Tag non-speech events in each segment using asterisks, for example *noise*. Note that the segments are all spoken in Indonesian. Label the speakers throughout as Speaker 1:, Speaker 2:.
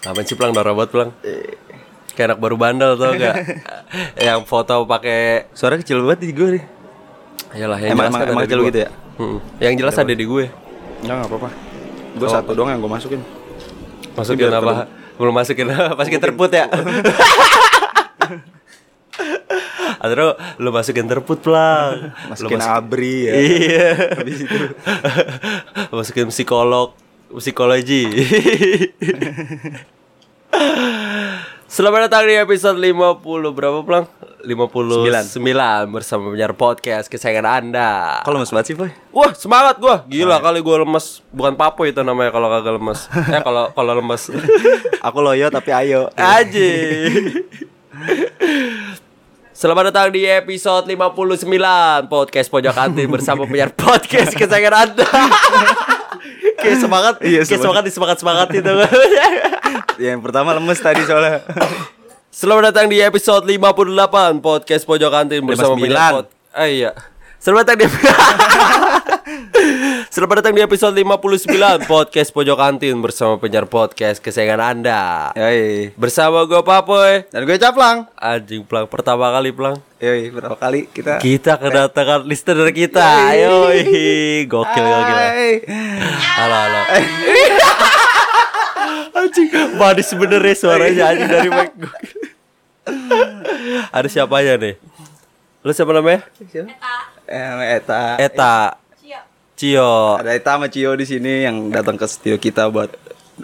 Speaker 1: Ngapain sih pelang dorobot pelang? Kayak anak baru bandel tau
Speaker 2: *laughs*
Speaker 1: gak? yang foto pakai
Speaker 2: Suara kecil banget di gue nih.
Speaker 1: Yalah yang jelas
Speaker 2: Emang- emang-
Speaker 1: kan
Speaker 2: emang
Speaker 1: ada di
Speaker 2: kecil
Speaker 1: gua.
Speaker 2: gitu ya?
Speaker 1: Mm-mm. Yang jelas ada di gue.
Speaker 2: Enggak enggak apa-apa. Gue satu doang yang gue masukin.
Speaker 1: Masukin
Speaker 2: biar
Speaker 1: apa? Belum masukin *laughs* pas kita terput
Speaker 2: *laughs*
Speaker 1: ya. Atau lu masukin terput pelang. Lu
Speaker 2: Masukin
Speaker 1: masuk-
Speaker 2: abri ya.
Speaker 1: Iya.
Speaker 2: Habis itu.
Speaker 1: *laughs* masukin psikolog, psikologi. *laughs* Selamat datang di episode 50 berapa pelang? 59 bersama penyiar podcast kesayangan Anda.
Speaker 2: Kalau lemes banget sih, Boy.
Speaker 1: Wah semangat gua Gila kali gua lemes Bukan papo itu namanya kalau kagak lemes Eh kalau kalau lemes
Speaker 2: Aku loyo tapi ayo.
Speaker 1: Aji *laughs* Selamat datang di episode 59 Podcast Pojok Anti bersama penyiar podcast kesayangan Anda *laughs* Kayak semangat
Speaker 2: Iya,
Speaker 1: Kayak
Speaker 2: semangat.
Speaker 1: semangat disemangat-semangat itu
Speaker 2: yang pertama lemes tadi soalnya.
Speaker 1: *laughs* Selamat datang di episode 58 Podcast Pojok Kantin bersama
Speaker 2: 59.
Speaker 1: penyiar pod- Ah, iya. Selamat datang di *laughs* Selamat datang di episode 59 Podcast Pojok Kantin bersama penyiar podcast kesayangan Anda.
Speaker 2: *laughs* Yoi.
Speaker 1: Bersama gue Papoy.
Speaker 2: Dan gue caplang.
Speaker 1: Anjing pelang pertama kali pelang.
Speaker 2: Yoi, berapa kali kita
Speaker 1: Kita kedatangan listener kita. Ayo, ih, gokil gokil.
Speaker 2: Hai.
Speaker 1: Halo halo. Anjing, manis bener ya suaranya anjing dari mic. Gokil. Ada siapa aja nih? Lu siapa namanya?
Speaker 2: Eh, Eta.
Speaker 1: Eta. Cio.
Speaker 2: Ada Eta sama Cio di sini yang datang ke studio kita buat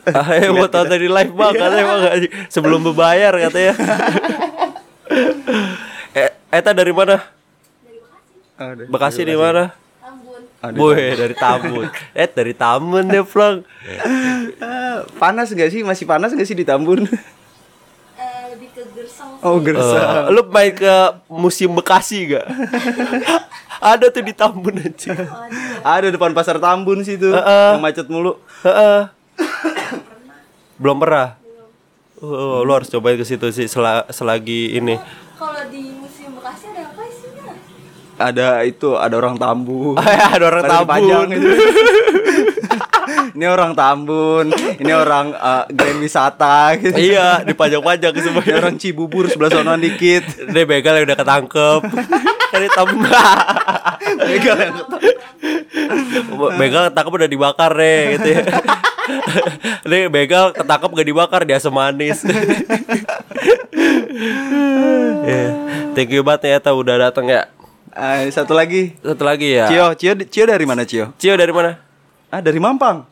Speaker 1: Ah, eh, mau tahu dari live bang katanya bang anjing. sebelum berbayar
Speaker 2: *laughs*
Speaker 1: katanya. Eh, Eta dari mana? Bekasi di mana? Boy dari Tambun. Eh dari Taman deh, Plang.
Speaker 2: Ah, *laughs* panas gak sih? Masih panas gak sih di Tambun? *laughs*
Speaker 3: Eh, lebih ke gersang
Speaker 2: Oh,
Speaker 1: Eh,
Speaker 2: gersang.
Speaker 1: lu main ke museum Bekasi gak? Ada tuh di Tambun aja.
Speaker 2: Eh. Ada depan pasar Tambun situ,
Speaker 1: Heeh.
Speaker 2: yang macet mulu.
Speaker 1: Heeh. Belum pernah. Oh, lu harus cobain ke situ sih sela- selagi ini. *laughs*
Speaker 3: kalau di museum bekasi ada apa isinya
Speaker 2: Ada itu, ada orang *laughs* Tambun.
Speaker 1: Ada orang
Speaker 2: Badan panjang
Speaker 1: Tambun.
Speaker 2: itu. *laughs* ini orang Tambun, ini orang eh, Grand Wisata gitu.
Speaker 1: iya, dipajang-pajang ke
Speaker 2: Ini
Speaker 1: semuanya.
Speaker 2: orang Cibubur sebelah sono dikit.
Speaker 1: Ini begal yang udah
Speaker 2: *laughs*
Speaker 1: ketangkep. Ini tambah.
Speaker 2: Begal yang
Speaker 1: begal ketangkep udah dibakar deh gitu ya. Ini begal ketangkep gak dibakar dia semanis. yeah. Thank you banget ya Eta udah datang ya.
Speaker 2: Eh, satu lagi.
Speaker 1: Satu lagi ya.
Speaker 2: Cio, Cio, Cio dari mana Cio?
Speaker 1: Cio dari mana?
Speaker 2: Ah dari Mampang.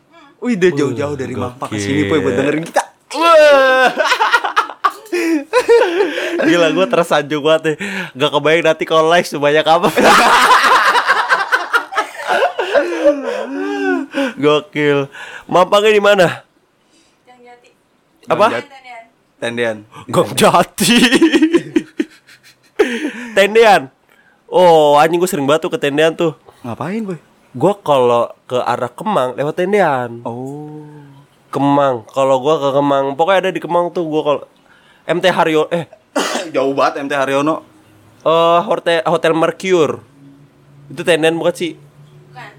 Speaker 2: Wih, dia jauh-jauh dari Mampang ke sini Boy, buat dengerin kita.
Speaker 1: Wah. Gila gue tersanjung banget nih Gak kebayang nanti kalau live sebanyak apa *laughs* Gokil Mampangnya di mana?
Speaker 3: yang jati
Speaker 1: Apa?
Speaker 3: Tanian.
Speaker 2: Tendian.
Speaker 1: Gong Jati. tendean. Oh, anjing gue sering banget tuh ke tendean tuh.
Speaker 2: Ngapain, Boy?
Speaker 1: Gue kalau ke arah Kemang lewat tendean.
Speaker 2: Oh.
Speaker 1: Kemang. Kalau gue ke Kemang, pokoknya ada di Kemang tuh gue kalau MT Haryo eh
Speaker 2: Jauh banget MT Haryono.
Speaker 1: eh, hotel Hotel Mercure. Itu tendean bukan sih?
Speaker 3: bukan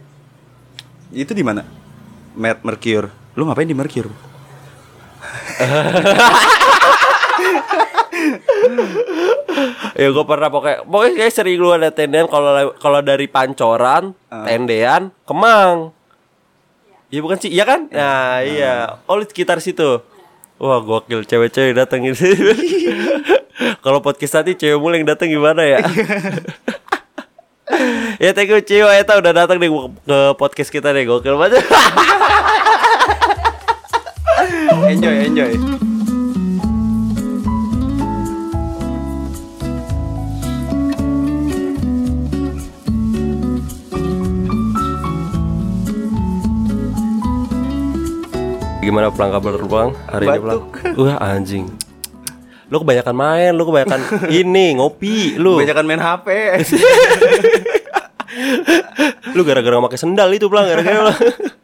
Speaker 2: Itu di mana? Mer Mercure. Lu ngapain di Mercure?
Speaker 1: ya gue pernah pokoknya pokoknya kayak sering lu ada tendean kalau kalau dari Pancoran, tendean, Kemang. Iya bukan sih? Iya kan? Nah, iya. Oh, lu sekitar situ. Wah, gokil cewek-cewek datang ini. *laughs* kalau podcast nanti cewek mulu yang datang gimana ya? *laughs* ya thank you Cio Eta udah datang deh ke podcast kita deh gokil banget. *laughs*
Speaker 2: Enjoy, enjoy.
Speaker 1: Gimana pelang kabar lu Bang? Hari ini pelang?
Speaker 2: Batuk.
Speaker 1: Wah anjing. Lu kebanyakan main, lu kebanyakan ini ngopi lu.
Speaker 2: Kebanyakan main HP.
Speaker 1: Lu gara-gara pakai sendal itu pulang
Speaker 2: *laughs*
Speaker 1: gara-gara lu.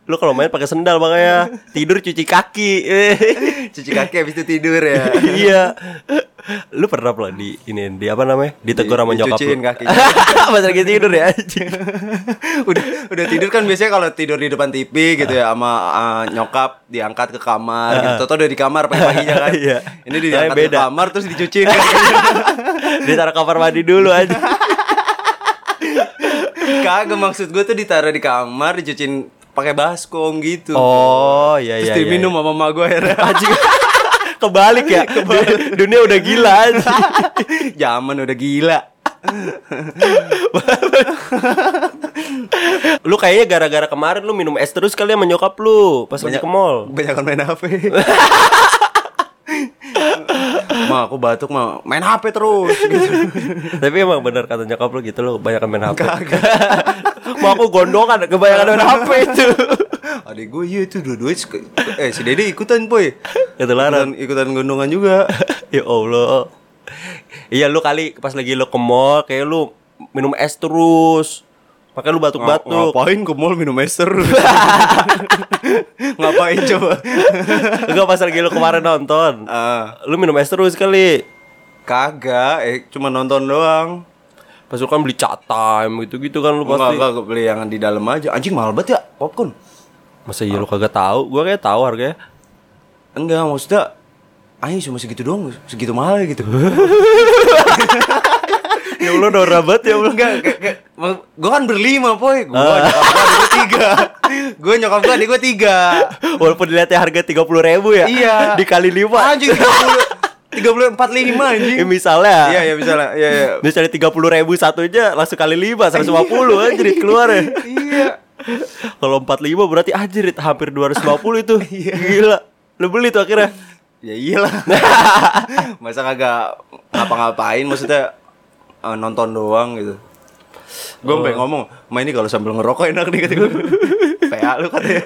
Speaker 1: Lu kalau main pakai sendal makanya tidur cuci kaki.
Speaker 2: *laughs*
Speaker 1: *laughs*
Speaker 2: Cuci kaki habis itu tidur ya.
Speaker 1: iya. Lu pernah pula di ini di apa namanya? Ditegur sama nyokap lu.
Speaker 2: Dicuciin kaki.
Speaker 1: *laughs* Pas lagi tidur ya anjing.
Speaker 2: *laughs* udah udah tidur kan biasanya kalau tidur di depan TV gitu ya sama uh, nyokap diangkat ke kamar gitu. Toto udah di kamar pagi-paginya kan.
Speaker 1: *laughs* Iya.
Speaker 2: Ini
Speaker 1: Tapi
Speaker 2: diangkat
Speaker 1: beda.
Speaker 2: ke kamar terus dicuciin. *laughs*
Speaker 1: Ditaruh kamar mandi dulu aja.
Speaker 2: Kagak maksud gue tuh ditaruh di kamar dicuciin pakai baskom gitu.
Speaker 1: Oh, iya
Speaker 2: terus
Speaker 1: iya. iya,
Speaker 2: diminum sama mama gue akhirnya.
Speaker 1: Anjing. *laughs* Kebalik ya. Du- Dunia udah gila anjing.
Speaker 2: *laughs* Zaman udah gila.
Speaker 1: Lu kayaknya gara-gara kemarin lu minum es terus kali ya menyokap lu pas lagi ke mall.
Speaker 2: Banyakan main
Speaker 1: *laughs*
Speaker 2: HP. Ma, aku batuk ma main HP terus. Gitu. *laughs*
Speaker 1: Tapi emang bener kata nyokap lu gitu lu kebanyakan main HP. *laughs* Mau aku gondongan kebanyakan main HP *laughs* itu.
Speaker 2: Adik gue iya itu dua-duanya suka- Eh si Dede ikutan boy
Speaker 1: Ketularan.
Speaker 2: Ikutan, ikutan gondongan juga
Speaker 1: Gitu *laughs* ya Allah. Iya lu kali pas lagi lu ke mall kayak lu minum es terus. Pakai lu batuk-batuk.
Speaker 2: Ngapain ke mall minum es terus
Speaker 1: *laughs*
Speaker 2: Ngapain coba
Speaker 1: *laughs* Enggak pas lagi lu kemarin nonton.
Speaker 2: Ah,
Speaker 1: Lu minum es terus kali.
Speaker 2: Kagak eh, Cuma nonton doang
Speaker 1: Pas lu kan beli cat time gitu-gitu kan lu
Speaker 2: Enggak,
Speaker 1: pasti.
Speaker 2: enggak gue beli yang di dalam aja Anjing mahal banget ya popcorn
Speaker 1: Masa iya lu kagak tahu? Gua kayak tahu harganya. *laughs*
Speaker 2: Enggak maksudnya Anjing cuma segitu doang Segitu mahal
Speaker 1: *laughs*
Speaker 2: gitu
Speaker 1: ya Allah norak banget ya Allah.
Speaker 2: Enggak, gue kan berlima poy Gue
Speaker 1: Ah.
Speaker 2: nyokap gue adik gue tiga Gue nyokap gue adik gue tiga
Speaker 1: Walaupun dilihatnya harga 30.000 ya.
Speaker 2: Iya.
Speaker 1: *laughs* Dikali 5.
Speaker 2: Anjing 30 30 45 anjing
Speaker 1: Ya, misalnya.
Speaker 2: Iya ya bisa lah. Iya iya.
Speaker 1: Dia cari 30.000 ribu satunya langsung kali 5 150 kan jadi keluar ya.
Speaker 2: Iya.
Speaker 1: Kalau 45 berarti anjir hampir 250 itu. Gila. Lu beli tuh akhirnya.
Speaker 2: Ya
Speaker 1: *laughs*
Speaker 2: iyalah. Masa kagak ngapa-ngapain maksudnya eh, nonton doang gitu.
Speaker 1: Oh.
Speaker 2: Gue pengen ngomong, ma ini kalau sambil ngerokok enak nih kata
Speaker 1: *laughs*
Speaker 2: gue. PA lu katanya.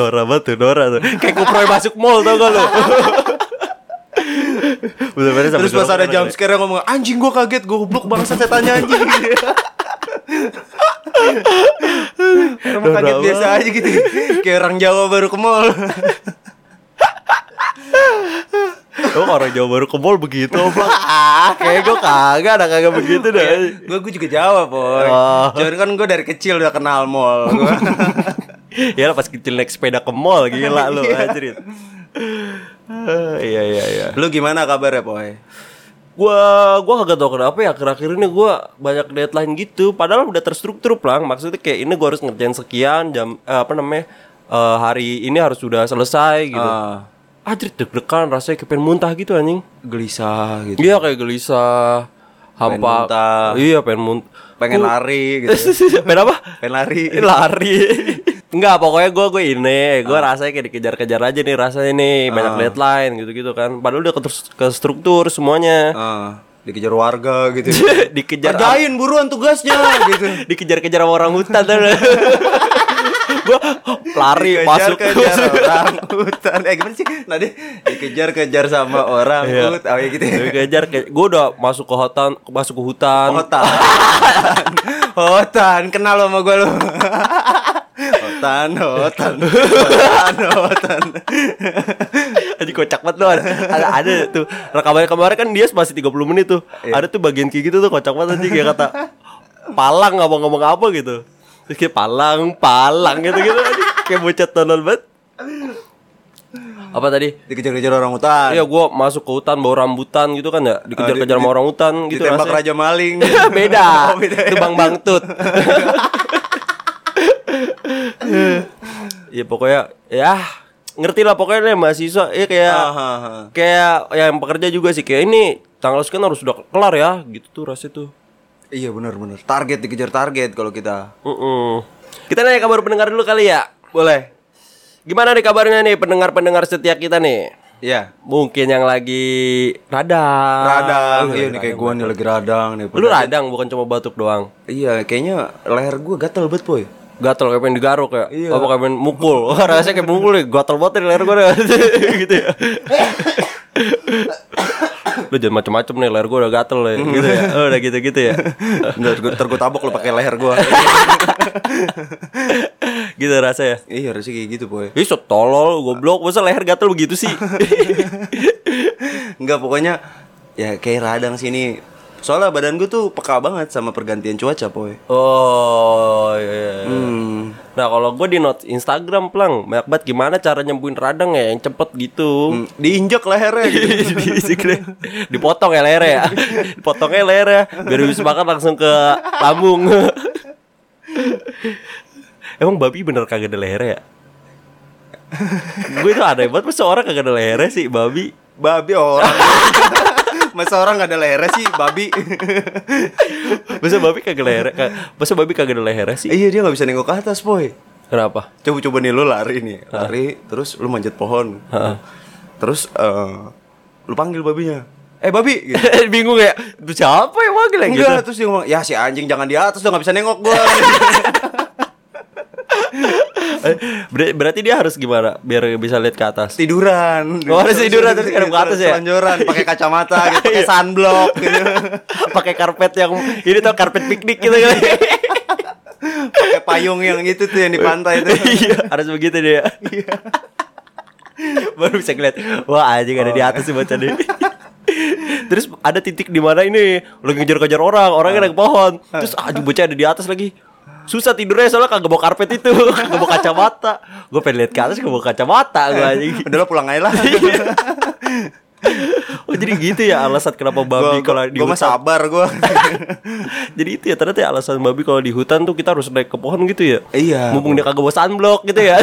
Speaker 1: Nora banget tuh, Nora tuh. Kayak kuproy masuk mall tau gak lu? Bener-bener sampai
Speaker 2: Terus pas
Speaker 1: dorong
Speaker 2: ada
Speaker 1: orang
Speaker 2: jam
Speaker 1: kali.
Speaker 2: sekarang ngomong anjing gua kaget goblok bangsa setannya anjing.
Speaker 1: *laughs*
Speaker 2: Orang
Speaker 1: Udah
Speaker 2: kaget
Speaker 1: berapa?
Speaker 2: biasa aja gitu Kayak orang Jawa baru ke mall
Speaker 1: Oh orang Jawa baru ke mall begitu *laughs* oblak. Ah, Kayak gue kagak ada kagak begitu dah.
Speaker 2: Gue gue juga Jawa boy
Speaker 1: Oh.
Speaker 2: Cuman kan gue dari kecil udah kenal
Speaker 1: *laughs*
Speaker 2: mall Gua-
Speaker 1: ya lah, pas kecil naik sepeda ke mall gila lu anjir. Ah, Iya iya iya.
Speaker 2: Lu gimana kabarnya, Poy?
Speaker 1: Gua gua kagak tau kenapa ya akhir-akhir ini gua banyak deadline gitu padahal udah terstruktur pelang maksudnya kayak ini gua harus ngerjain sekian jam eh, apa namanya eh, hari ini harus sudah selesai gitu.
Speaker 2: Ah.
Speaker 1: Anjir deg-degan rasanya kayak pengen muntah gitu anjing.
Speaker 2: Gelisah gitu.
Speaker 1: Iya kayak gelisah, hampa.
Speaker 2: muntah.
Speaker 1: Iya pengen muntah.
Speaker 2: Pengen lari gitu.
Speaker 1: *laughs* pengen apa?
Speaker 2: Pengen lari.
Speaker 1: *laughs* lari Ah. Enggak, pokoknya gue gue ini, gue rasanya kayak dikejar-kejar aja nih rasanya nih banyak deadline gitu-gitu kan. Padahal udah ke, ke struktur semuanya,
Speaker 2: Ah, dikejar warga gitu.
Speaker 1: *laughs* dikejar
Speaker 2: Kerjain buruan tugasnya gitu.
Speaker 1: *laughs* dikejar-kejar sama orang hutan. *laughs* gue "Oh, lari
Speaker 2: Dikejar-
Speaker 1: masuk *laughs*
Speaker 2: kejar
Speaker 1: masuk.
Speaker 2: orang hutan. Eh gimana sih? Nanti dikejar-kejar sama orang hutan. Oh, ya gitu. ya.
Speaker 1: Iya. dikejar, gue udah masuk ke hutan, masuk ke hutan. *laughs*
Speaker 2: Hutan. hutan, kenal lo sama gue lo. *laughs* Hutan,
Speaker 1: *laughs*
Speaker 2: hutan, hutan, hutan.
Speaker 1: *laughs* Aji kocak banget loh. Ada, ada tuh rekamannya kemarin kan dia masih 30 menit tuh.
Speaker 2: Iya.
Speaker 1: Ada tuh bagian kayak gitu tuh kocak banget anjing kayak kata palang nggak mau ngomong apa gitu. Terus kayak palang, palang gitu gitu kayak bocah tolol banget. Apa tadi?
Speaker 2: Dikejar-kejar orang hutan.
Speaker 1: Iya gua masuk ke hutan bawa rambutan gitu kan ya Dikejar-kejar sama orang hutan gitu
Speaker 2: Oh, Ditembak
Speaker 1: rasanya.
Speaker 2: raja
Speaker 1: *laughs*
Speaker 2: maling.
Speaker 1: beda.
Speaker 2: Oh, beda
Speaker 1: Itu
Speaker 2: ya.
Speaker 1: Bang Bangtut. *laughs* ya pokoknya ya ngerti lah pokoknya deh, mahasiswa ya kayak
Speaker 2: Ah, ah, ah.
Speaker 1: kayak yang pekerja juga sih kayak ini tanggal sekian harus sudah kelar ya gitu tuh rasanya tuh.
Speaker 2: Iya benar-benar target dikejar target kalau kita.
Speaker 1: Mm-mm. Kita nanya kabar pendengar dulu kali ya. Boleh. Gimana nih kabarnya nih pendengar-pendengar setia kita nih?
Speaker 2: Iya.
Speaker 1: Mungkin yang lagi radang.
Speaker 2: Radang,
Speaker 1: Lu
Speaker 2: iya nih kayak gua nih lagi radang nih.
Speaker 1: Lu radang bukan cuma batuk doang.
Speaker 2: Iya, kayaknya leher gua gatel banget, boy.
Speaker 1: gatel kayak pengen digaruk ya apa kayak pengen mukul *laughs* Wah, rasanya kayak *laughs* mukul nih gatel banget nih leher gue gitu ya lu jangan macem-macem nih leher gue udah gatel ya gitu ya Oh, udah gitu-gitu ya
Speaker 2: Ntar gue- ntar gue tabok lu pakai leher *laughs* gua.
Speaker 1: gitu rasanya
Speaker 2: Iya harusnya kayak gitu boy.
Speaker 1: Ih, so tolol, goblok. Masa leher gatel begitu sih? *laughs*
Speaker 2: Enggak pokoknya ya kayak radang sini. Soalnya badan gue tuh peka banget sama pergantian cuaca boy.
Speaker 1: oh, iya. iya.
Speaker 2: Hmm.
Speaker 1: Nah, kalau gue di notes Instagram, Plang, banyak banget gimana cara nyembuhin radang ya yang cepet gitu.
Speaker 2: Hmm, Diinjak lehernya gitu.
Speaker 1: *laughs* Di- di- Dipotong ya lehernya ya. Dipotongnya lehernya biar habis makan langsung ke lambung. *laughs* Emang babi bener kagak ada lehernya ya? gue itu aneh banget masa orang kagak ada lehernya sih babi
Speaker 2: Babi *laughs* orang. Masa orang gak ada lehernya sih babi.
Speaker 1: masa babi kagak lehernya Ka- masa babi kagak ada lehernya sih
Speaker 2: iya dia nggak bisa nengok ke atas boy.
Speaker 1: kenapa
Speaker 2: Coba-coba nih lu lari nih, lari terus lu manjat pohon. Terus eh, lu panggil babinya.
Speaker 1: *laughs*
Speaker 2: Eh babi gitu.
Speaker 1: *laughs* bingung ya "Tuh siapa yang manggil ya gitu
Speaker 2: Enggak, terus dia ngomong, "Ya si anjing jangan di atas, udah nggak bisa nengok
Speaker 1: *laughs*
Speaker 2: gua."
Speaker 1: Eh, ber- berarti dia harus gimana biar bisa lihat ke atas *laughs*
Speaker 2: tiduran.
Speaker 1: Oh, harus tiduran, terus ngadep ke atas ya? Iya.
Speaker 2: Selonjoran, pakai kacamata gitu,
Speaker 1: *laughs*
Speaker 2: pakai sunblock gitu.
Speaker 1: pakai karpet yang ini tuh karpet piknik gitu kan *laughs*
Speaker 2: pakai payung yang itu tuh yang di pantai
Speaker 1: *laughs*
Speaker 2: itu.
Speaker 1: iya harus begitu dia
Speaker 2: Iya.
Speaker 1: *laughs* baru bisa ngeliat wah anjing ada di
Speaker 2: Oh.
Speaker 1: atas sih bocah ini *laughs* terus ada titik di mana ini lu ngejar-kejar orang
Speaker 2: Ah.
Speaker 1: orangnya ada ke pohon terus "Ah, anjing bocah ada di atas lagi susah tidurnya soalnya kagak bawa karpet itu *laughs* kagak bawa kacamata gue pengen lihat ke atas kagak bawa kacamata gue
Speaker 2: *laughs*
Speaker 1: anjing
Speaker 2: Udah lah pulang aja lah.
Speaker 1: Iya. oh jadi gitu ya alasan kenapa babi kalau di
Speaker 2: gue mah
Speaker 1: hutan
Speaker 2: sabar gue
Speaker 1: *laughs* jadi itu ya ternyata ya alasan babi kalau di hutan tuh kita harus naik ke pohon gitu ya
Speaker 2: Iya.
Speaker 1: mumpung dia kagak bawa sunblock gitu ya
Speaker 2: *laughs*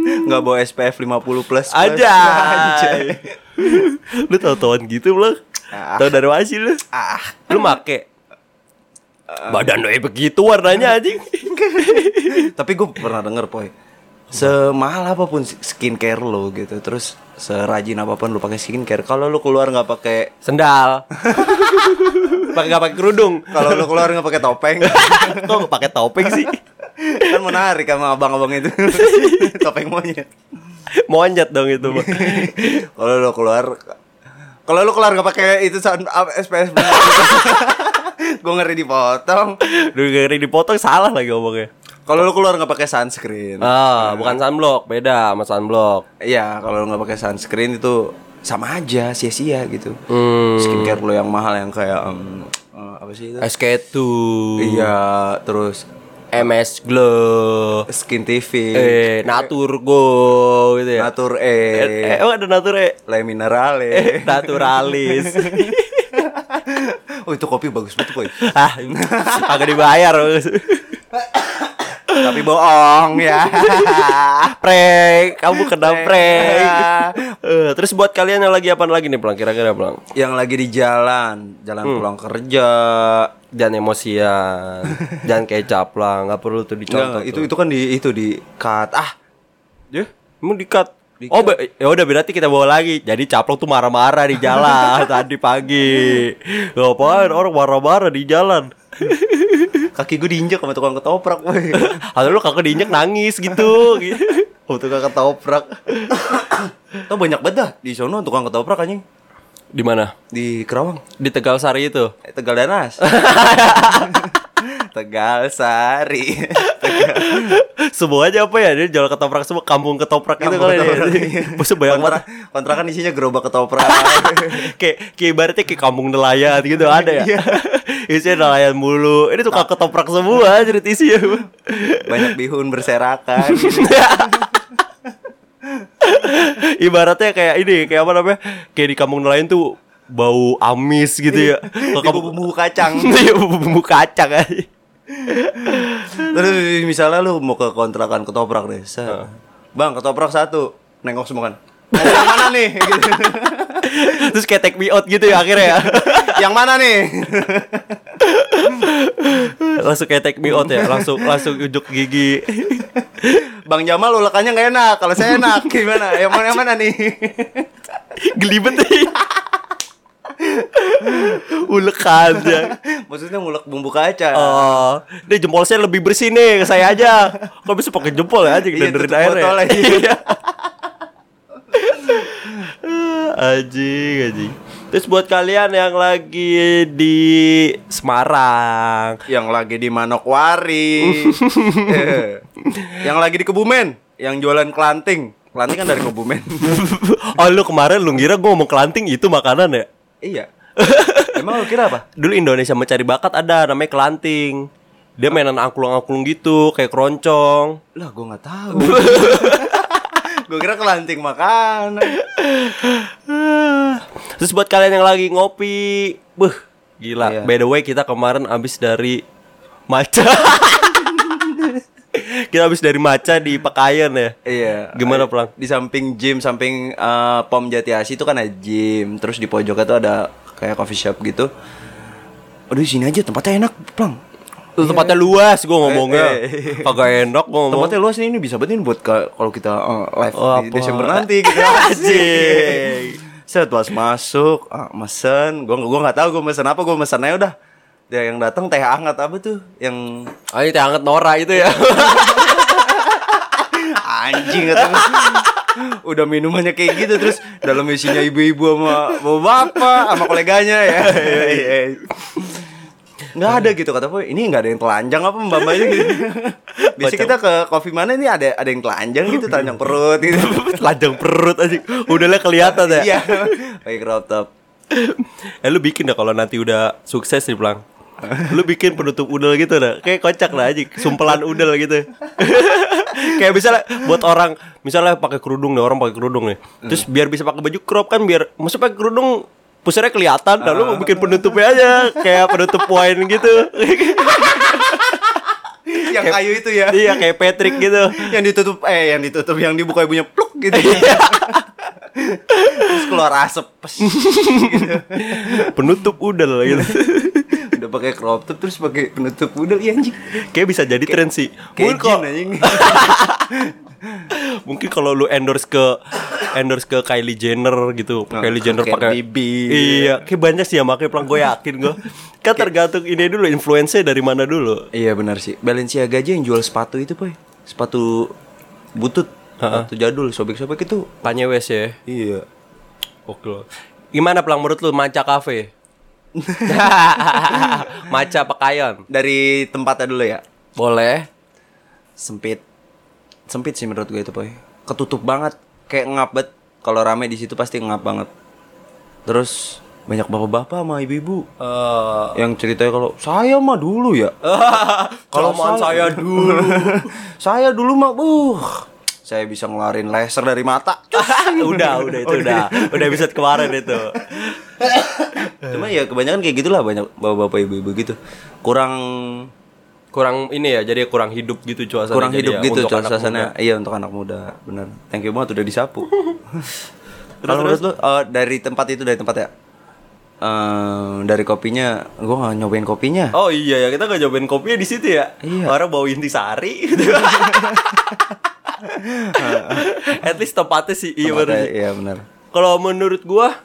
Speaker 2: nggak bawa SPF 50 plus plus
Speaker 1: aja
Speaker 2: Anjay.
Speaker 1: *laughs* lu tau tauan gitu belum
Speaker 2: Ah.
Speaker 1: tau dari mana sih lu
Speaker 2: ah
Speaker 1: lu make badan lu begitu warnanya anjing
Speaker 2: tapi gue pernah denger poy semahal apapun skincare lo gitu terus serajin apapun lu pakai skincare kalau lu keluar nggak pakai
Speaker 1: sendal *laughs* pakai nggak pakai kerudung
Speaker 2: kalau lu keluar nggak pakai topeng *laughs*
Speaker 1: kok nggak pakai topeng sih
Speaker 2: kan menarik sama abang-abang itu *laughs* topeng monyet
Speaker 1: monyet dong itu
Speaker 2: *laughs*
Speaker 1: mah.
Speaker 2: kalau lu keluar kalau lu keluar nggak pakai itu sun- apa, SPF *laughs* gue gitu. ngeri dipotong
Speaker 1: Duh, ngeri dipotong salah lagi ngomongnya
Speaker 2: kalau lu keluar nggak pakai sunscreen
Speaker 1: Ah, bukan sunblock, beda sama sunblock.
Speaker 2: Iya, kalau lu nggak pakai sunscreen itu sama aja sia-sia gitu.
Speaker 1: Hmm.
Speaker 2: Skincare lo yang mahal yang kayak em, eh, apa sih itu?
Speaker 1: SK2,
Speaker 2: Iya, terus
Speaker 1: MS Glow,
Speaker 2: Skin TV,
Speaker 1: eh Natur Go gitu ya.
Speaker 2: Iya. Natur
Speaker 1: eh,
Speaker 2: E,
Speaker 1: oh Eh. ada Natur E.
Speaker 2: Le Minerale.
Speaker 1: Naturalis.
Speaker 2: *laughs* Oh, itu kopi bagus banget, Boy.
Speaker 1: ah, agak dibayar.
Speaker 2: Tapi bohong
Speaker 1: *laughs*
Speaker 2: ya.
Speaker 1: ah, prank, kamu kena
Speaker 2: Prank.
Speaker 1: prank. Eh, terus buat kalian yang lagi apa lagi nih, Blang? Kira-kira, Blang?
Speaker 2: yang lagi di jalan, jalan
Speaker 1: Hmm.
Speaker 2: pulang kerja.
Speaker 1: Jangan emosian, jangan kecap lah, nggak perlu tuh dicontoh.
Speaker 2: Enggak, itu itu kan di itu di cut. Ah,
Speaker 1: Ya, mau dikat. Oh, be- ya udah berarti kita bawa lagi. Jadi caplok tuh marah-marah di jalan *laughs* tadi pagi. Ngapain orang marah-marah di jalan?
Speaker 2: kaki gue diinjak sama tukang
Speaker 1: *laughs*
Speaker 2: ketoprak, Boy.
Speaker 1: Atau lu kakak diinjek nangis *laughs* gitu. gitu.
Speaker 2: Oh, tukang ketoprak. *coughs* Tuh banyak banget dah di sono tukang ketoprak anjing.
Speaker 1: Di mana?
Speaker 2: Di Kerawang.
Speaker 1: Di Tegal Sari itu.
Speaker 2: Eh,
Speaker 1: *laughs*
Speaker 2: Tegal Danas. Tegal Sari.
Speaker 1: Semuanya apa ya? Dia jual ketoprak semua, kampung ketoprak gitu kali ya. *laughs* Masa banyak banget.
Speaker 2: Kontra- kontrakan isinya gerobak ketoprak.
Speaker 1: kayak kayak ibaratnya kayak kampung nelayan gitu ada ya. *laughs* Isinya nelayan mulu. Ini tukang ketoprak semua jadi ya. isinya.
Speaker 2: banyak bihun berserakan.
Speaker 1: *laughs* Ibaratnya kayak ini, kayak apa namanya? Kayak di kampung nelayan tuh bau amis gitu ya. Kalau kamu
Speaker 2: Bumbu kacang.
Speaker 1: Iya, *laughs* bumbu kacang aja.
Speaker 2: Terus misalnya lu mau ke kontrakan ketoprak deh. set. Bang, ketoprak satu. Nengok semua kan. "Nah, yang mana nih? *laughs* Gitu.
Speaker 1: Terus kayak take me out gitu ya akhirnya ya. *laughs*
Speaker 2: yang mana nih?
Speaker 1: langsung kayak take me out ya, langsung langsung unjuk gigi. *laughs*
Speaker 2: Bang Jamal ulekannya nggak enak. Kalau saya enak gimana? Yang mana yang mana nih? *laughs*
Speaker 1: Gelibet *laughs* nih. Ulekan ya.
Speaker 2: Maksudnya ngulek bumbu kacang.
Speaker 1: Oh, ini jempol saya lebih bersih nih ke saya aja. Kok bisa pakai jempol ya aja
Speaker 2: Iya,
Speaker 1: denderin
Speaker 2: tutup
Speaker 1: airnya.
Speaker 2: botol aja.
Speaker 1: Iya. Anjing, anjing. Terus buat kalian yang lagi di Semarang,
Speaker 2: yang lagi di Manokwari,
Speaker 1: *laughs*
Speaker 2: Eh, yang lagi di Kebumen, yang jualan kelanting. Kelanting kan dari Kebumen. *laughs*
Speaker 1: oh lu kemarin lu ngira gue ngomong kelanting itu makanan ya?
Speaker 2: iya. Emang lu kira apa?
Speaker 1: Dulu Indonesia mencari bakat ada namanya kelanting. Dia mainan angklung-angklung gitu, kayak keroncong.
Speaker 2: Lah, gue nggak
Speaker 1: *laughs*
Speaker 2: tahu. gue kira kelanting makanan.
Speaker 1: Terus buat kalian yang lagi ngopi, beh, gila.
Speaker 2: Iya.
Speaker 1: By the way, kita kemarin abis dari
Speaker 2: *laughs*
Speaker 1: maca. kita abis dari maca di Pekayon ya.
Speaker 2: Iya.
Speaker 1: Gimana, Plang?
Speaker 2: Di samping gym, samping eh, pom Jati Asih itu kan ada gym. Terus di pojoknya tuh ada kayak coffee shop gitu. Aduh, sini aja tempatnya enak, Plang.
Speaker 1: Lu tempatnya luas gue ngomongnya.
Speaker 2: eh, eh.
Speaker 1: Kagak enak gue ngomong.
Speaker 2: Tempatnya luas nih, ini bisa banget ini buat ka- kalau kita eh, live
Speaker 1: Oh,
Speaker 2: di
Speaker 1: apa?
Speaker 2: Desember nanti
Speaker 1: *laughs*
Speaker 2: gitu.
Speaker 1: Asik.
Speaker 2: Set pas masuk, ah, mesen. Gua gua nggak tahu gua mesen apa, gua mesen aja udah. Ya, yang datang teh hangat apa tuh? Yang
Speaker 1: Ah, ini teh hangat Nora itu ya. *laughs*
Speaker 2: anjing kata gua. *laughs* Udah minumannya kayak gitu terus dalam isinya ibu-ibu sama bapak sama koleganya ya. *laughs* Nggak ada gitu kata gue, ini nggak ada yang telanjang apa mbak mbaknya
Speaker 1: *laughs*
Speaker 2: gitu. Biasanya
Speaker 1: Macam-
Speaker 2: kita ke coffee mana ini ada ada yang telanjang gitu, telanjang perut gitu.
Speaker 1: *laughs* Telanjang perut aja. Udahlah kelihatan ya.
Speaker 2: Iya, pakai crop top.
Speaker 1: Eh lu bikin dah kalau nanti udah sukses nih Plang Lu bikin penutup udel gitu dah Kayak kocak lah aja Sumpelan udel gitu *laughs* Kayak misalnya buat orang Misalnya pakai kerudung nih Orang pakai kerudung nih Terus biar bisa pakai baju crop kan biar Maksud pakai kerudung Pusarnya kelihatan Dan lu bikin penutupnya aja Kayak penutup poin gitu *laughs*
Speaker 2: Yang kayu itu ya.
Speaker 1: Iya kayak Patrick gitu
Speaker 2: yang ditutup eh yang ditutup yang dibuka ibunya pluk gitu *laughs* terus keluar asap pes, gitu.
Speaker 1: Penutup udel gitu
Speaker 2: udah pakai crop top terus pakai penutup udel iya anjing
Speaker 1: Kayak bisa jadi tren sih Mungkin
Speaker 2: kayak
Speaker 1: kalau-
Speaker 2: jin anjing
Speaker 1: Mungkin kalau lu endorse ke endorse ke Kylie Jenner gitu.
Speaker 2: Nah,
Speaker 1: Kylie Jenner
Speaker 2: kayak
Speaker 1: pakai
Speaker 2: BB.
Speaker 1: Iya, kayak banyak sih yang pakai pelang gue yakin gue. Kan tergantung ini dulu influencer dari mana dulu.
Speaker 2: iya benar sih Balenciaga aja yang jual sepatu itu boy sepatu butut sepatu jadul sobek-sobek itu
Speaker 1: Kanye West ya.
Speaker 2: iya
Speaker 1: Oke. Gimana pelang menurut lu Maca Cafe? *laughs* Maca Pekayon.
Speaker 2: dari tempatnya dulu ya
Speaker 1: Boleh.
Speaker 2: sempit sempit sih menurut gue itu boy ketutup banget kayak ngap bet kalau rame di situ pasti ngap banget terus banyak bapak-bapak sama ibu-ibu
Speaker 1: Eh,
Speaker 2: yang ceritanya kalau saya mah dulu ya
Speaker 1: kalau mau Eh,
Speaker 2: *laughs*
Speaker 1: saya dulu.
Speaker 2: saya dulu mah buh saya bisa ngelarin laser dari mata
Speaker 1: *laughs* udah, udah itu udah. Udah episode kemarin itu. Eh.
Speaker 2: cuma ya kebanyakan kayak gitulah banyak bapak-bapak ibu-ibu gitu kurang
Speaker 1: Kurang ini ya, jadi kurang hidup gitu cuaca.
Speaker 2: kurang hidup gitu
Speaker 1: untuk anak
Speaker 2: suasana iya untuk anak muda benar thank you banget udah
Speaker 1: *laughs*
Speaker 2: disapu kalau menurut lu eh, dari tempat itu dari tempat ya Eh, dari kopinya gua nggak nyobain kopinya
Speaker 1: Oh iya ya kita gak cobain kopinya di situ ya.
Speaker 2: Iya.
Speaker 1: Orang bawa
Speaker 2: *laughs*
Speaker 1: intisari gitu. At least tempatnya sih iya bener
Speaker 2: Tempatnya-
Speaker 1: sih.
Speaker 2: iya benar
Speaker 1: Kalau menurut gua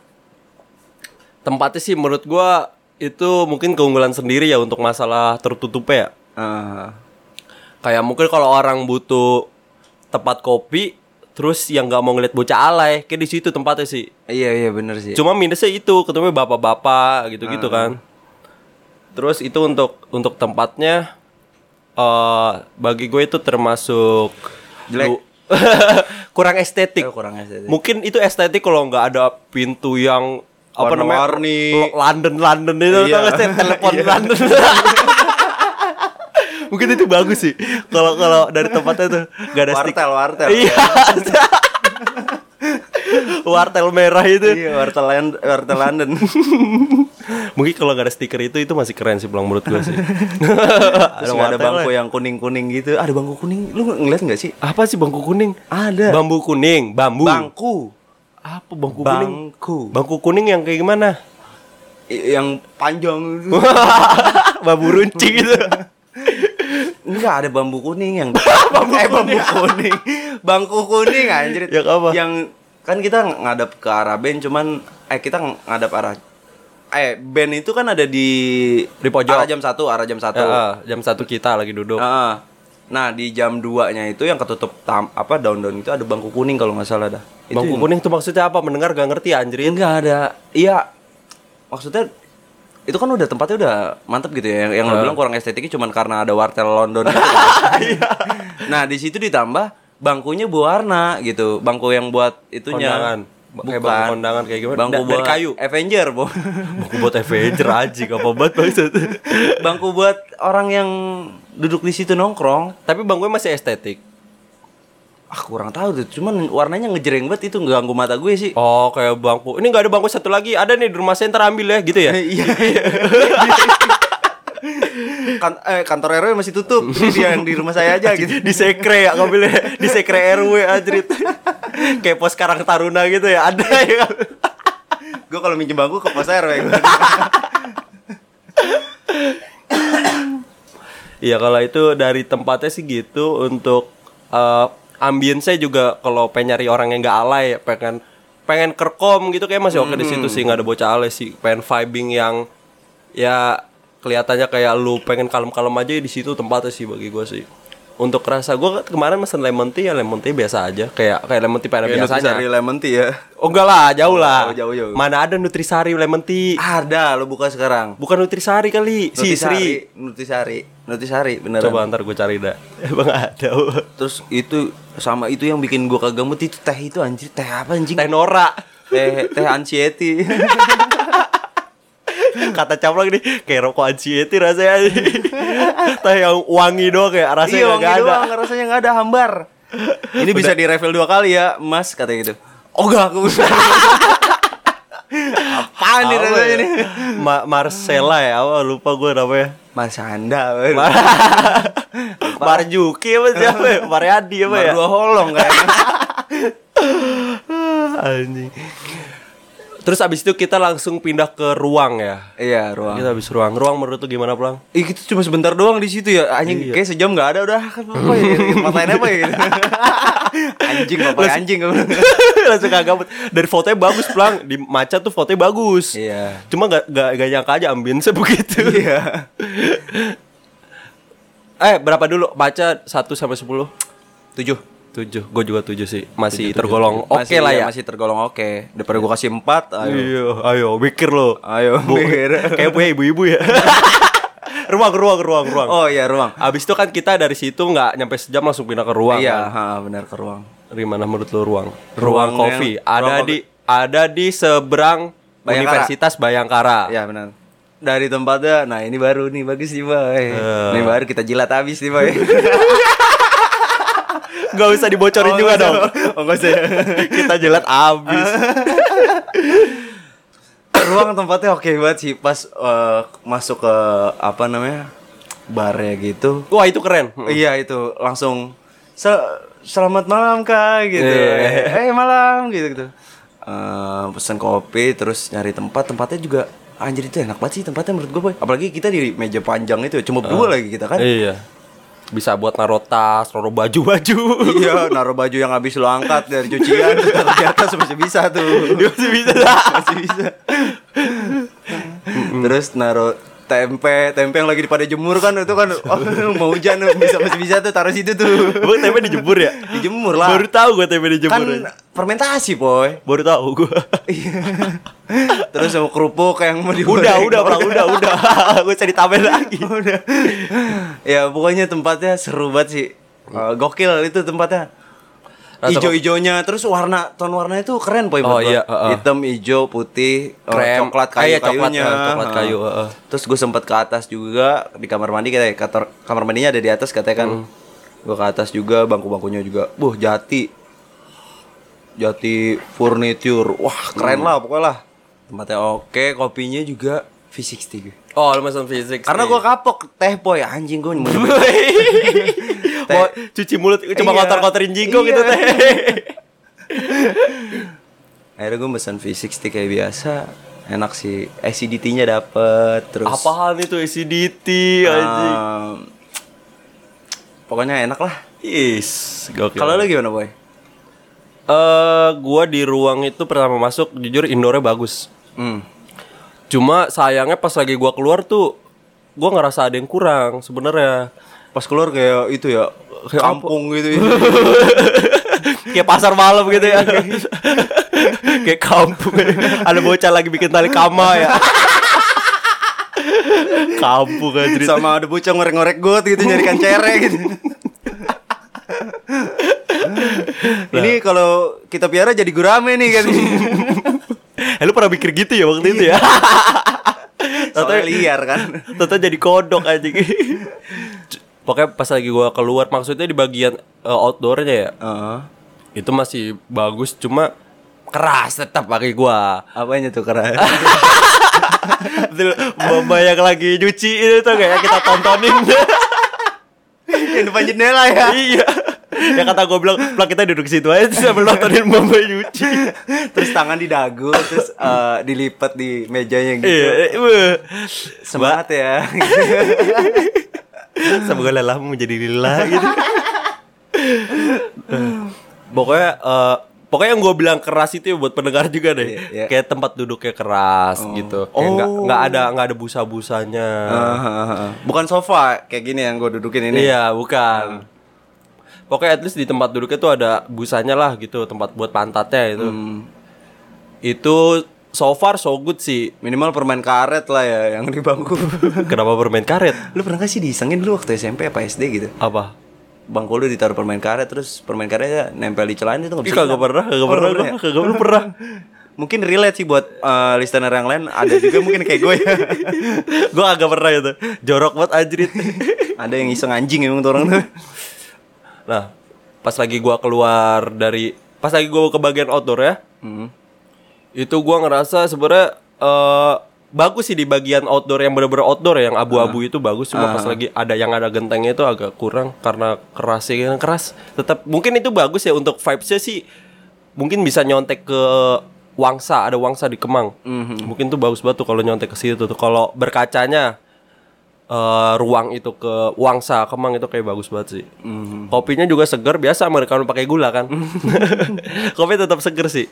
Speaker 1: tempatnya sih menurut gua itu mungkin keunggulan sendiri ya untuk masalah tertutupnya ya.
Speaker 2: Eh,
Speaker 1: Kayak mungkin kalau orang butuh tempat kopi terus yang nggak mau ngeliat bocah alay kayak di situ tempatnya sih.
Speaker 2: iya iya Ah. benar sih
Speaker 1: Cuma minusnya itu ketemu bapak-bapak gitu-gitu kan. Terus itu untuk untuk tempatnya eh bagi gue itu termasuk
Speaker 2: Jelek.
Speaker 1: lu- *laughs* kurang estetik.
Speaker 2: Eh, kurang estetik.
Speaker 1: Mungkin itu estetik kalau nggak ada pintu yang apa namanya?
Speaker 2: Warna-warni.
Speaker 1: London London itu
Speaker 2: *laughs* Iya.
Speaker 1: tau nggak sih? telepon London. *laughs* Mungkin itu bagus sih. Kalau kalau dari tempatnya tuh nggak ada stik-
Speaker 2: wartel wartel
Speaker 1: Iya. *laughs* wartel merah itu.
Speaker 2: Iya, wartel Land- wartel
Speaker 1: *laughs*
Speaker 2: London.
Speaker 1: Mungkin kalau nggak ada stiker itu itu masih keren sih pulang menurut gue *laughs* sih.
Speaker 2: Terus nggak ada
Speaker 1: ya.
Speaker 2: bangku yang kuning-kuning gitu. Ada bangku kuning. Lu ngeliat nggak sih?
Speaker 1: apa sih bangku kuning?
Speaker 2: Ada.
Speaker 1: Bambu kuning, bambu.
Speaker 2: Bangku.
Speaker 1: Apa bangku kuning?
Speaker 2: Bangku.
Speaker 1: Bangku kuning yang kayak gimana?
Speaker 2: I- Yang panjang. gitu.
Speaker 1: *laughs* bambu runcing gitu. itu. *laughs*
Speaker 2: Enggak ada bambu kuning yang bambu eh, bambu kuning. *laughs* bangku kuning anjir.
Speaker 1: Yang Ya, apa?
Speaker 2: Yang kan kita ng- ngadap ke arah band cuman eh kita ng- ngadap arah eh band itu kan ada di
Speaker 1: Di pojok.
Speaker 2: arah jam satu arah jam satu
Speaker 1: Ya, ah, jam satu kita lagi duduk.
Speaker 2: Heeh. Nah, di jam 2-nya itu yang ketutup tam, apa daun-daun itu ada bangku kuning kalau nggak salah dah. Itu
Speaker 1: Bangku
Speaker 2: yang-
Speaker 1: kuning itu ya. maksudnya apa? Mendengar gak ngerti anjrin.
Speaker 2: Enggak ada. Iya. Maksudnya itu kan udah tempatnya udah mantep gitu ya. Yang, yang lo bilang kurang estetiknya cuman karena ada wartel
Speaker 1: *laughs*
Speaker 2: London. gitu.
Speaker 1: Iya.
Speaker 2: nah, di situ ditambah bangkunya berwarna gitu. Bangku yang buat itunya.
Speaker 1: Kondangan.
Speaker 2: Bukan.
Speaker 1: Kayak bangku kondangan kayak gimana?
Speaker 2: Bangku
Speaker 1: Da- dari
Speaker 2: buat
Speaker 1: kayu.
Speaker 2: Avenger, Bo.
Speaker 1: Buku buat Avenger aja, apa banget maksud.
Speaker 2: *laughs* bangku buat orang yang duduk di situ nongkrong.
Speaker 1: *laughs* Tapi bangkunya masih estetik.
Speaker 2: Ah, kurang tahu tuh. Cuman warnanya ngejreng banget itu ganggu mata gue sih.
Speaker 1: Oh, kayak bangku. Ini nggak ada bangku satu lagi. Ada nih di rumah saya ntar ambil ya, gitu ya.
Speaker 2: Iya. *laughs* kan, eh, kantor RW masih tutup. Jadi dia yang di rumah saya aja gitu.
Speaker 1: di sekre ya ngambilnya di sekre RW anjrit. kayak pos Karang Taruna gitu ya, ada ya.
Speaker 2: Gue kalau minjem bangku ke pos RW. gua.
Speaker 1: Iya, kalau itu dari tempatnya sih gitu untuk eh ambience juga kalau pengen nyari orang yang nggak alay pengen pengen kerkom gitu kayak masih oke di situ sih nggak ada bocah alay sih pengen vibing yang ya kelihatannya kayak lu pengen kalem-kalem aja ya di situ tempatnya sih bagi gue sih untuk rasa gue kemarin mesen lemon tea ya lemon tea biasa aja kayak kayak lemon tea pada
Speaker 2: Kayak
Speaker 1: biasanya
Speaker 2: Nutrisari lemon tea ya.
Speaker 1: Oh enggak lah, jauh lah.
Speaker 2: Oh, jauh, jauh.
Speaker 1: Mana ada nutrisari lemon tea?
Speaker 2: Ada, lo buka sekarang.
Speaker 1: Bukan nutrisari kali, si Sri.
Speaker 2: Nutrisari, Nutrisari, Nutrisari beneran.
Speaker 1: Coba ntar gue cari dah. Emang ada.
Speaker 2: Terus itu sama itu yang bikin gua kagak mood itu teh itu anjir, teh apa anjing?
Speaker 1: *laughs* Teh Nora.
Speaker 2: Teh teh anxiety.
Speaker 1: Kata caplang nih, kayak rokok anxiety
Speaker 2: *laughs*
Speaker 1: rasanya. Teh yang wangi doang kayak *laughs* rasanya
Speaker 2: Iya,
Speaker 1: nggak
Speaker 2: wangi
Speaker 1: ada.
Speaker 2: doang, rasanya nggak ada hambar. Ini bisa di refill dua kali ya, Mas katanya gitu. Oh enggak, aku *laughs* Apaan nih
Speaker 1: Apa
Speaker 2: rasanya
Speaker 1: ya?
Speaker 2: nih?
Speaker 1: Ma- Marcella ya, apa ya? lupa gue namanya.
Speaker 2: Mas Anda, baru
Speaker 1: Mar- Marjuki
Speaker 2: *laughs*
Speaker 1: apa siapa ya? Mariadi apa ya?
Speaker 2: dua holong kan?
Speaker 1: *laughs*
Speaker 2: kayaknya.
Speaker 1: Anjing. Terus abis itu kita langsung pindah ke ruang ya.
Speaker 2: Iya, ruang.
Speaker 1: Kita habis ruang. Ruang menurut lu gimana, Plang?
Speaker 2: Ih, gitu cuma sebentar doang di situ ya. Anjing
Speaker 1: Iya.
Speaker 2: kayak sejam nggak ada udah. Apa ya?
Speaker 1: *laughs*
Speaker 2: Tempat lain apa ya? *laughs* Gitu. anjing, bapak
Speaker 1: *laughs*
Speaker 2: anjing. kamu.
Speaker 1: langsung kagak gabut. dari fotonya bagus pelang di maca tuh fotonya bagus
Speaker 2: Iya.
Speaker 1: cuma gak, gak, gak nyangka aja ambience *laughs* begitu
Speaker 2: Iya.
Speaker 1: eh berapa dulu maca 1 sampai 10
Speaker 2: Tujuh.
Speaker 1: 7 gue juga 7 sih masih tergolong oke
Speaker 2: Masih-
Speaker 1: lah
Speaker 2: iya,
Speaker 1: ya
Speaker 2: Masih tergolong oke. Daripada gua kasih empat, ayo.
Speaker 1: iya ayo mikir lo
Speaker 2: Ayo, mikir.
Speaker 1: kayak punya ibu-ibu
Speaker 2: *laughs*
Speaker 1: ya ruang ruang ruang ruang
Speaker 2: Oh iya, ruang.
Speaker 1: Abis itu kan kita dari situ nggak nyampe sejam langsung pindah ke ruang. kan?
Speaker 2: iya, ha, benar ke ruang.
Speaker 1: Di mana menurut lo ruang? Ruang,
Speaker 2: Ruang yang-
Speaker 1: kopi. ada
Speaker 2: ruang
Speaker 1: di ada di seberang
Speaker 2: Bayangkara.
Speaker 1: Universitas Bayangkara.
Speaker 2: Iya, benar. Dari tempatnya, nah ini baru nih bagus nih, Boy.
Speaker 1: Iya.
Speaker 2: Ini baru kita jilat habis nih,
Speaker 1: *laughs*
Speaker 2: Boy.
Speaker 1: Gak usah dibocorin
Speaker 2: Oh,
Speaker 1: juga
Speaker 2: nggak usah.
Speaker 1: dong.
Speaker 2: Oh, nggak usah.
Speaker 1: *laughs* Kita jelat *laughs* abis.
Speaker 2: ruang tempatnya oke banget sih pas eh, masuk ke apa namanya? bar ya gitu.
Speaker 1: Wah itu keren.
Speaker 2: Iya itu langsung "Sel- selamat malam kak gitu. Eh malam gitu gitu. Eh, pesan kopi terus nyari tempat tempatnya juga anjir itu enak banget sih tempatnya menurut gue boy. Apalagi kita di meja panjang itu cuma berdua lagi kita kan.
Speaker 1: Iya. Bisa buat naro tas, naro baju-baju.
Speaker 2: Iya, naruh baju yang habis lo angkat dari cucian terus taruh di atas masih bisa tuh.
Speaker 1: Masih *laughs* bisa lah.
Speaker 2: masih bisa. terus naruh tempe, tempe yang lagi pada jemur kan itu kan oh, mau hujan bisa masih bisa tuh taruh situ tuh.
Speaker 1: Gue tempe dijemur ya?
Speaker 2: Dijemur lah.
Speaker 1: Baru tahu gue tempe
Speaker 2: kan
Speaker 1: dijemur. ya.
Speaker 2: fermentasi boy
Speaker 1: Baru tahu gue. *laughs*
Speaker 2: terus sama kerupuk yang mau digoreng
Speaker 1: udah, udah, Bang, udah, *laughs* udah. gue cari tambahin lagi.
Speaker 2: udah *laughs* ya pokoknya tempatnya seru banget sih Eh, gokil itu tempatnya
Speaker 1: Hmm. Rasa
Speaker 2: Ijo-ijonya terus warna ton warnanya itu keren boy
Speaker 1: Oh,
Speaker 2: menurut gua.
Speaker 1: iya, heeh.
Speaker 2: hitam ijo putih eh,
Speaker 1: Krem.
Speaker 2: coklat
Speaker 1: Ah, iya,
Speaker 2: kayu
Speaker 1: coklat,
Speaker 2: kayunya
Speaker 1: eh, coklat kayu,
Speaker 2: Heeh.
Speaker 1: heeh.
Speaker 2: terus gue sempet ke atas juga di kamar mandi katanya kantor- kamar mandinya ada di atas katanya kan
Speaker 1: Hmm.
Speaker 2: gue ke atas juga bangku-bangkunya juga buh jati jati furniture wah keren
Speaker 1: Hmm.
Speaker 2: lah pokoknya lah tempatnya oke kopinya juga V60 gue.
Speaker 1: Oh, lu masuk fisik.
Speaker 2: Karena
Speaker 1: *laughs*
Speaker 2: gue kapok teh boy anjing gue mau
Speaker 1: mau cuci mulut cuma
Speaker 2: Iya.
Speaker 1: kotor-kotorin jinggo gitu
Speaker 2: Iya.
Speaker 1: *laughs* teh.
Speaker 2: Akhirnya gue pesan V60 kayak biasa Enak sih acidity-nya dapet Terus
Speaker 1: Apaan itu acidity anjing?
Speaker 2: um, Pokoknya enak lah
Speaker 1: Is, gokil.
Speaker 2: Kalau lu gimana boy?
Speaker 1: Eh, gua di ruang itu pertama masuk jujur indoornya bagus.
Speaker 2: Hmm.
Speaker 1: Cuma sayangnya pas lagi gua keluar tuh gua ngerasa ada yang kurang sebenarnya.
Speaker 2: pas keluar kayak itu ya kayak kampung gitu ya.
Speaker 1: kayak pasar malam gitu *laughs* ya kayak kampung ada bocah lagi bikin tali kama ya kampung aja
Speaker 2: sama ada bocah ngorek-ngorek got gitu nyarikan cere gitu ini kalau kita piara jadi gurame nih kan
Speaker 1: eh, lu pernah mikir gitu ya waktu itu ya
Speaker 2: soalnya liar kan
Speaker 1: Tata jadi kodok aja Pokoknya pas lagi gua keluar maksudnya di bagian eh, outdoornya ya
Speaker 2: Heeh.
Speaker 1: itu masih bagus cuma keras tetap bagi gua
Speaker 2: apanya tuh *laughs* keren
Speaker 1: Betul, Mama yang lagi nyuci itu tuh kayak kita tontonin
Speaker 2: yang depan jendela ya
Speaker 1: iya ya kata gua bilang "Plak, kita duduk situ aja terus sambil nontonin mama nyuci
Speaker 2: terus tangan didagu terus eh, dilipat di mejanya gitu
Speaker 1: iya eh,
Speaker 2: semangat ya
Speaker 1: semoga lelahmu menjadi lila gitu pokoknya eh, pokoknya yang gue bilang keras itu ya buat pendengar juga deh
Speaker 2: Iya, iya.
Speaker 1: kayak tempat duduknya keras gitu kayak nggak
Speaker 2: Oh.
Speaker 1: nggak ada nggak ada busa busanya
Speaker 2: *laughs* bukan sofa kayak gini yang gue dudukin ini ya?
Speaker 1: iya bukan pokoknya at least di tempat duduknya tuh ada busanya lah gitu tempat buat pantatnya itu
Speaker 2: Hmm.
Speaker 1: itu so far so good sih
Speaker 2: minimal permen karet lah ya yang di bangku *laughs*
Speaker 1: kenapa bermain karet
Speaker 2: lu pernah gak sih diisengin dulu waktu SMP apa SD gitu
Speaker 1: apa
Speaker 2: bangku lu ditaruh permen karet terus permen karetnya nempel di celana itu nggak
Speaker 1: Ih,
Speaker 2: bisa
Speaker 1: kagak
Speaker 2: hilang.
Speaker 1: pernah, kagak
Speaker 2: Oh,
Speaker 1: pernah,
Speaker 2: nggak
Speaker 1: gua,
Speaker 2: ya?
Speaker 1: kagak pernah, pernah.
Speaker 2: mungkin relate sih buat eh, listener yang lain ada juga mungkin kayak gue ya *laughs*
Speaker 1: gue agak pernah itu jorok banget anjrit
Speaker 2: ada yang iseng anjing emang tuh orang tuh
Speaker 1: nah pas lagi gua keluar dari pas lagi gua ke bagian outdoor ya
Speaker 2: Hmm.
Speaker 1: itu gua ngerasa sebenarnya eh, bagus sih di bagian outdoor yang bener-bener outdoor ya, yang abu-abu itu bagus cuma pas lagi ada yang ada gentengnya itu agak kurang karena kerasnya yang keras tetap mungkin itu bagus ya untuk vibesnya sih mungkin bisa nyontek ke Wangsa ada Wangsa di Kemang mungkin tuh bagus banget tuh kalau nyontek ke situ tuh kalau berkacanya eh, ruang itu ke Wangsa Kemang itu kayak bagus banget sih
Speaker 2: Mhm.
Speaker 1: kopinya juga segar biasa mereka pakai gula kan
Speaker 2: Mhm.
Speaker 1: *laughs* kopi tetap seger sih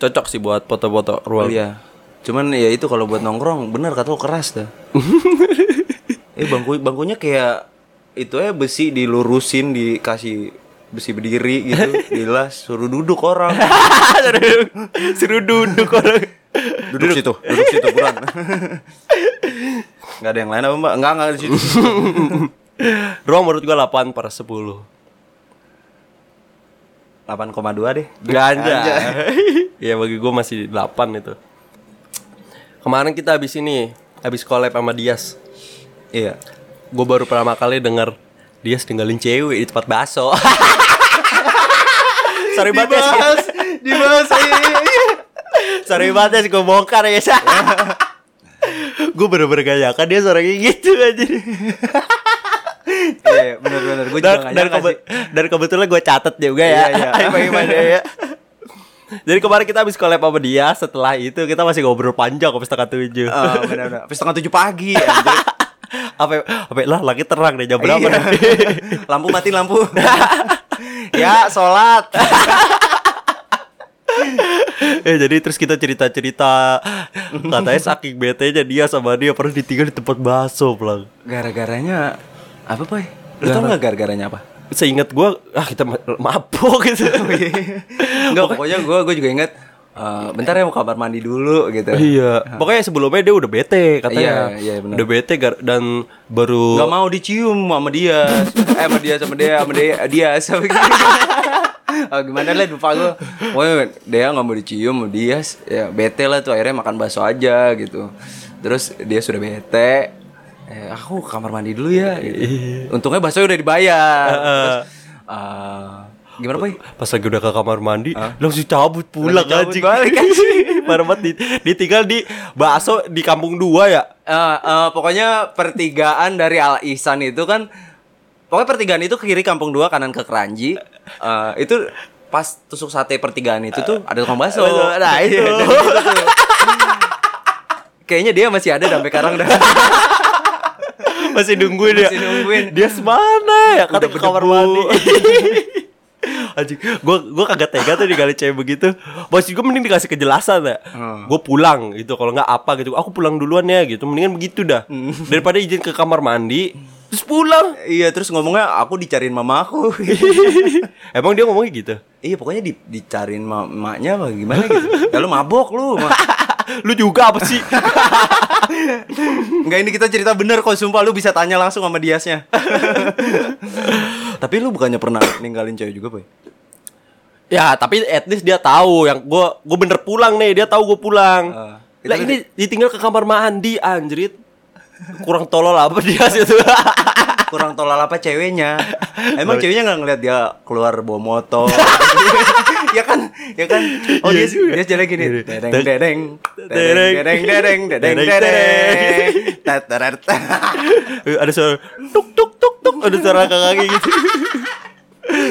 Speaker 1: cocok sih buat foto-foto ruang
Speaker 2: iya cuman ya itu kalau buat nongkrong bener kata lo keras *laughs* dah eh bangku bangkunya kayak itu ya besi dilurusin dikasih besi berdiri *laughs* gitu dilas suruh duduk *laughs* orang
Speaker 1: *laughs* Seru duduk orang.
Speaker 2: duduk, situ duduk situ buruan nggak ada yang lain apa mbak nggak nggak di situ
Speaker 1: Ruang menurut gua 8 per 10.
Speaker 2: 8,2 deh
Speaker 1: Ganja. *laughs* Iya bagi gua masih 8 itu. Kemarin kita habis ini, habis collab sama Dias.
Speaker 2: iya
Speaker 1: Gue baru pertama kali denger Dias tinggalin cewek di tempat baso. *laughs* Sorry banget ya.
Speaker 2: dibahas dibahas iya, iya, iya.
Speaker 1: Sorry banget ya, gue bongkar ya
Speaker 2: *laughs*
Speaker 1: Gue bener-bener gak nyangka dia seorangnya gitu aja
Speaker 2: Iya, iya, bener bener gue juga
Speaker 1: dan,
Speaker 2: nggak
Speaker 1: dan,
Speaker 2: nyangka
Speaker 1: kebe-
Speaker 2: sih.
Speaker 1: dan kebetulan gue catet juga ya
Speaker 2: Iya, iya.
Speaker 1: *laughs* Gimana ya Jadi kemarin kita habis collab sama dia Setelah itu kita masih ngobrol panjang Sampai setengah tujuh
Speaker 2: Eh, bener bener Habis setengah tujuh pagi anjir.
Speaker 1: Apa apa lah lagi terang deh jam berapa
Speaker 2: Iya.
Speaker 1: nih? *laughs*
Speaker 2: *laughs* lampu mati lampu *laughs* ya sholat
Speaker 1: eh jadi terus kita cerita cerita katanya saking bete nya dia sama dia pernah ditinggal di tempat bakso pelang
Speaker 2: gara-garanya apa boy lu tau nggak gara-garanya apa
Speaker 1: seingat gue ah kita ma- mabok gitu
Speaker 2: Oh,
Speaker 1: *laughs*
Speaker 2: Enggak, pokoknya gue gue juga inget eh, bentar ya mau kamar mandi dulu gitu
Speaker 1: Iya, pokoknya sebelumnya dia udah bete katanya.
Speaker 2: Iya, iya, benar.
Speaker 1: Udah bete gar- dan baru
Speaker 2: Gak mau dicium sama dia Eh sama dia sama dia sama dia eh, dia sama Oh, gimana lah lupa gue Pokoknya dia gak mau dicium sama dia ya, Bete lah tuh akhirnya makan bakso aja gitu Terus dia sudah bete eh, Aku ke kamar mandi dulu ya gitu. Untungnya bakso udah dibayar Terus, eh, Gimana boy?
Speaker 1: pas lagi udah ke kamar mandi langsung cabut pulang
Speaker 2: Langsung cabut
Speaker 1: anjing.
Speaker 2: balik, anjing.
Speaker 1: *laughs* Parah banget di- ditinggal di bakso di kampung dua ya.
Speaker 2: Eh, eh, pokoknya pertigaan dari Al Ihsan itu kan pokoknya pertigaan itu ke kiri Kampung Dua kanan ke Keranji. Eh, itu pas tusuk sate pertigaan itu tuh ada tukang bakso.
Speaker 1: Betul, nah, itu.
Speaker 2: Dan itu tuh. Kayaknya dia masih ada sampai sekarang dah.
Speaker 1: Masih nungguin ya.
Speaker 2: Masih nungguin.
Speaker 1: Dia mana ya? Kata ke kamar mandi. *laughs* Anjing, gua gua kagak tega tuh digali cewek begitu. Bos gua mending dikasih kejelasan ya. Gua pulang
Speaker 2: Hmm.
Speaker 1: gitu kalau nggak apa gitu. Aku pulang duluan ya gitu. Mendingan begitu dah. Daripada izin ke kamar mandi. Terus pulang.
Speaker 2: Iya terus ngomongnya aku dicariin mama aku
Speaker 1: *laughs* Emang dia ngomongnya gitu?
Speaker 2: Iya pokoknya di, dicariin ma- maknya apa gimana gitu Ya lu mabok lu ma-
Speaker 1: Ah, lu juga apa sih?
Speaker 2: Enggak ini kita cerita bener kok sumpah lu bisa tanya langsung sama Diasnya Tapi lu bukannya pernah ninggalin cewek juga boy
Speaker 1: *laughs* ya, tapi at least dia tahu yang gua gua bener pulang nih, dia tahu gua pulang.
Speaker 2: Ah, itu
Speaker 1: lah
Speaker 2: kan
Speaker 1: ini ditinggal ke kamar mandi anjrit. Kurang tolol apa dia sih itu?
Speaker 2: Kurang tolol apa ceweknya Emang ceweknya gak ngeliat dia keluar bawa
Speaker 1: *laughs*
Speaker 2: motor Ya kan Ya kan Oh
Speaker 1: Iya
Speaker 2: dia, dia jalan gini Dedeng dedeng Dedeng dedeng dedeng Dedeng dedeng Tet, teret, tet.
Speaker 1: Eh, *laughs* ada suara tuk tuk tuk tuk, ada suara kakak gitu.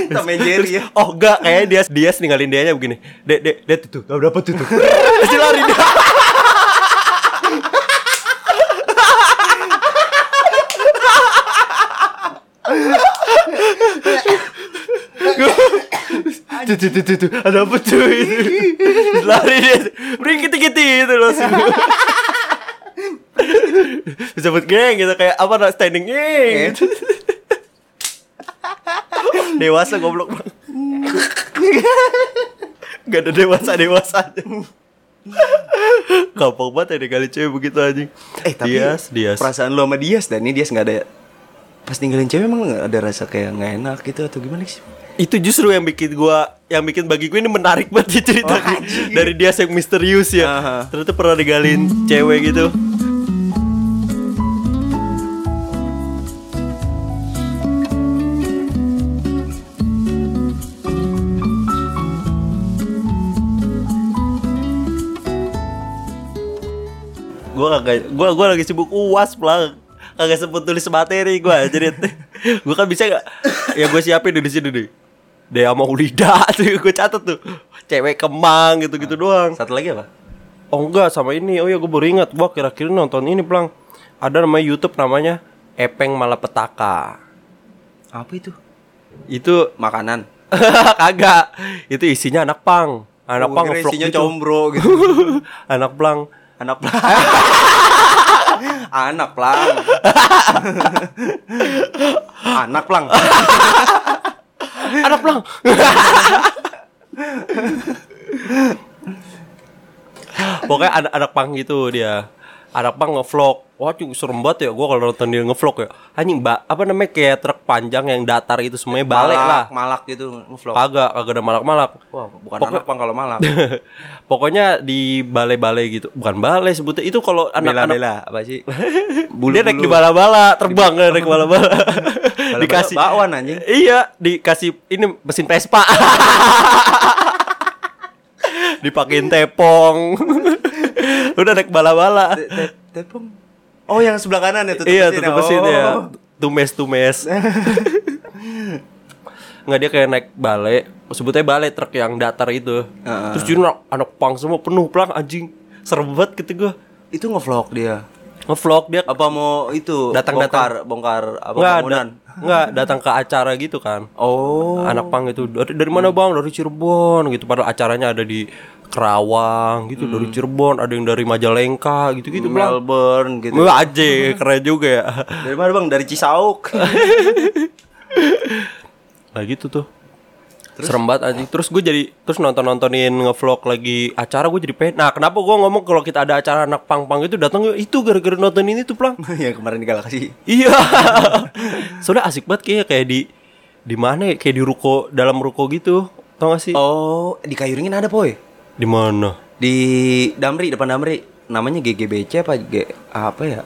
Speaker 2: Tom and Jerry ya
Speaker 1: Oh enggak, kayaknya dia dia ninggalin dia begini. Dek, dek, dek tuh, tuh, dapat tuh. tuh. Pasti lari dia. Tuh, tuh, tuh, tuh, tuh, ada apa tuh itu? Lari dia, beri kiti-kiti itu loh Bisa buat geng gitu, kayak apa, nah, standing geng gitu Dewasa goblok banget Gak ada dewasa dewasa Gampang banget ya kali cewek begitu anjing
Speaker 2: Eh tapi
Speaker 1: Dias, Dias
Speaker 2: perasaan lu sama Dias dan ini Dias nggak ada pas ninggalin cewek emang nggak ada rasa kayak nggak enak gitu atau gimana sih?
Speaker 1: Itu justru yang bikin gua Yang bikin bagi gue ini menarik banget ya cerita Dari Dias yang misterius ya
Speaker 2: Aha.
Speaker 1: Ternyata pernah digalin cewek gitu gua kagak gua gua lagi sibuk uas pelang kagak sempet tulis materi gua jadi *laughs* gua kan bisa gak ya gua siapin di sini nih Dea Maulida *laughs* tuh gua catat tuh cewek kemang gitu
Speaker 2: Ah.
Speaker 1: gitu doang
Speaker 2: Satu lagi apa?
Speaker 1: oh enggak sama ini oh ya gua baru ingat gua kira-kira nonton ini pelang ada namanya YouTube namanya Epeng Malapetaka
Speaker 2: Apa itu?
Speaker 1: itu *laughs*
Speaker 2: Makanan.
Speaker 1: kagak itu isinya anak pang anak
Speaker 2: Gua
Speaker 1: pang
Speaker 2: Oh, kira
Speaker 1: ngevlog
Speaker 2: isinya
Speaker 1: gitu.
Speaker 2: combro gitu.
Speaker 1: *laughs* anak plang *laughs*
Speaker 2: Anak pelang. Anak pelang. Anak pelang.
Speaker 1: anak pelang pokoknya anak anak pang gitu dia anak pang ngevlog wah cuy serem banget ya gue kalau nonton dia ngevlog ya anjing ba- apa namanya kayak truk panjang yang datar itu semuanya balik lah
Speaker 2: Malak, malak gitu ngevlog.
Speaker 1: kagak kagak ada malak-malak
Speaker 2: Wah, bukan
Speaker 1: Pokok-
Speaker 2: anak pelang kalau malak.
Speaker 1: *laughs* pokoknya di balai-balai gitu bukan balai sebutnya itu kalau anak-anak
Speaker 2: Bela-bela apa sih?
Speaker 1: dia naik di bala-bala terbang kan naik bala-bala dikasih
Speaker 2: bakwan anjing.
Speaker 1: iya dikasih ini mesin Vespa *laughs* dipakein tepong *laughs* udah naik bala-bala
Speaker 2: Te- te- Tepung. Oh, yang sebelah kanan ya tutup
Speaker 1: iya
Speaker 2: mesin
Speaker 1: tutup mesin ya
Speaker 2: Oh.
Speaker 1: tumes
Speaker 2: *laughs*
Speaker 1: tumes nggak dia kayak naik balai sebutnya balai truk yang datar itu
Speaker 2: Heeh.
Speaker 1: terus jadi anak, anak pang semua penuh pelang anjing serem banget gitu gue
Speaker 2: Itu ngevlog dia.
Speaker 1: ngevlog dia
Speaker 2: apa mau itu
Speaker 1: Datang-
Speaker 2: bongkar bongkar apa
Speaker 1: nggak
Speaker 2: bangunan
Speaker 1: da- nggak datang ke acara gitu kan
Speaker 2: oh Hmm.
Speaker 1: anak pang itu dari, dari mana bang dari Cirebon gitu padahal acaranya ada di Kerawang gitu dari
Speaker 2: Hmm.
Speaker 1: Cirebon ada yang dari Majalengka gitu gitu bang
Speaker 2: Melbourne gitu
Speaker 1: Wah aja keren juga ya *laughs*
Speaker 2: dari mana bang dari Cisauk *laughs*
Speaker 1: nah gitu tuh serem banget anjing terus gue jadi terus nonton nontonin ngevlog lagi acara gue jadi pengen nah kenapa gue ngomong kalau kita ada acara anak pang pang itu datang itu gara-gara nonton ini tuh plang
Speaker 2: yang kemarin di galaksi
Speaker 1: *laughs* Iya. *laughs* Soalnya asik banget kayaknya kayak di di mana ya? Kayak di ruko dalam ruko gitu. Tau gak sih?
Speaker 2: oh di Kayuringin ada boy
Speaker 1: Di mana?
Speaker 2: di Damri depan Damri namanya GGBC apa G apa ya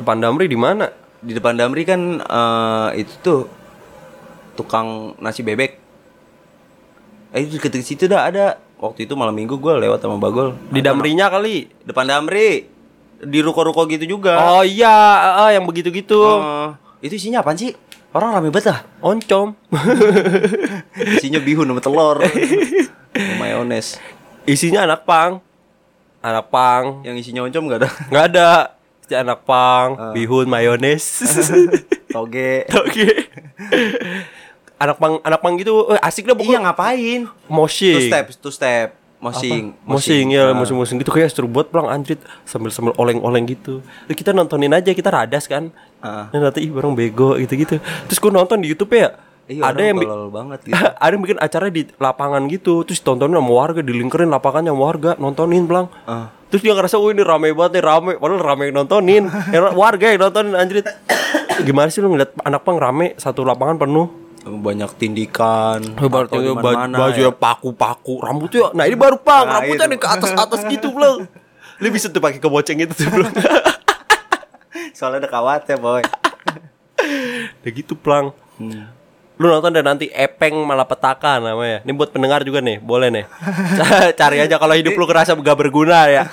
Speaker 1: Depan Damri di mana?
Speaker 2: di depan Damri kan eh, itu tuh tukang nasi bebek eh itu deket situ dah ada waktu itu malam minggu gue lewat sama Bagol
Speaker 1: Di Damrinya kali.
Speaker 2: depan Damri di ruko-ruko gitu juga
Speaker 1: Oh iya, ah, yang begitu-gitu.
Speaker 2: Eh, itu isinya apaan sih orang rame banget lah
Speaker 1: Oncom. *laughs*
Speaker 2: Isinya bihun sama telur. Sama mayones.
Speaker 1: Isinya anak pang. Anak pang.
Speaker 2: Yang isinya oncom gak ada.
Speaker 1: Nggak ada. Isinya anak pang,
Speaker 2: Eh.
Speaker 1: bihun,
Speaker 2: *laughs*
Speaker 1: mayones.
Speaker 2: Toge.
Speaker 1: Oke. Anak pang, anak pang gitu eh, asik dah
Speaker 2: Iya
Speaker 1: pokoknya.
Speaker 2: ngapain? Two
Speaker 1: Moshing.
Speaker 2: step, Nah. two step. Mosing,
Speaker 1: Iya. Mosing ya, mosing-mosing gitu kayak seru buat pelang anjrit sambil sambil oleng-oleng gitu. Terus kita nontonin aja kita radas kan.
Speaker 2: Ah.
Speaker 1: Dan nanti ih bareng bego gitu-gitu. Terus gua nonton di YouTube ya.
Speaker 2: Iya,
Speaker 1: ada
Speaker 2: orang
Speaker 1: yang bi-
Speaker 2: tolol banget gitu.
Speaker 1: *laughs* ada yang bikin acara di lapangan gitu. Terus tontonin sama warga dilingkerin lapangannya sama warga nontonin pelang. Terus dia ngerasa, "Wih, ini rame banget nih, rame." Padahal rame yang nontonin. Eh, warga yang nontonin anjrit. *coughs* Gimana sih lu ngeliat anak pang rame satu lapangan penuh?
Speaker 2: banyak tindikan
Speaker 1: *laughs* Hebat
Speaker 2: atau
Speaker 1: ya,
Speaker 2: di
Speaker 1: baju,
Speaker 2: mana-mana
Speaker 1: bajunya
Speaker 2: ya.
Speaker 1: paku-paku, rambutnya. Nah, ini baru pang,
Speaker 2: Nah,
Speaker 1: rambutnya nih
Speaker 2: itu.
Speaker 1: ke atas-atas gitu, belum. Lu bisa tuh pakai keboceng itu tuh, *laughs* belum.
Speaker 2: soalnya ada kawatnya
Speaker 1: *laughs*
Speaker 2: boy
Speaker 1: Udah gitu, plang.
Speaker 2: Iya.
Speaker 1: Lu nonton dan nanti Epeng Malapetaka namanya. Ini buat pendengar juga nih, boleh
Speaker 2: *laughs*
Speaker 1: nih. Cari aja kalau hidup lu kerasa gak berguna ya.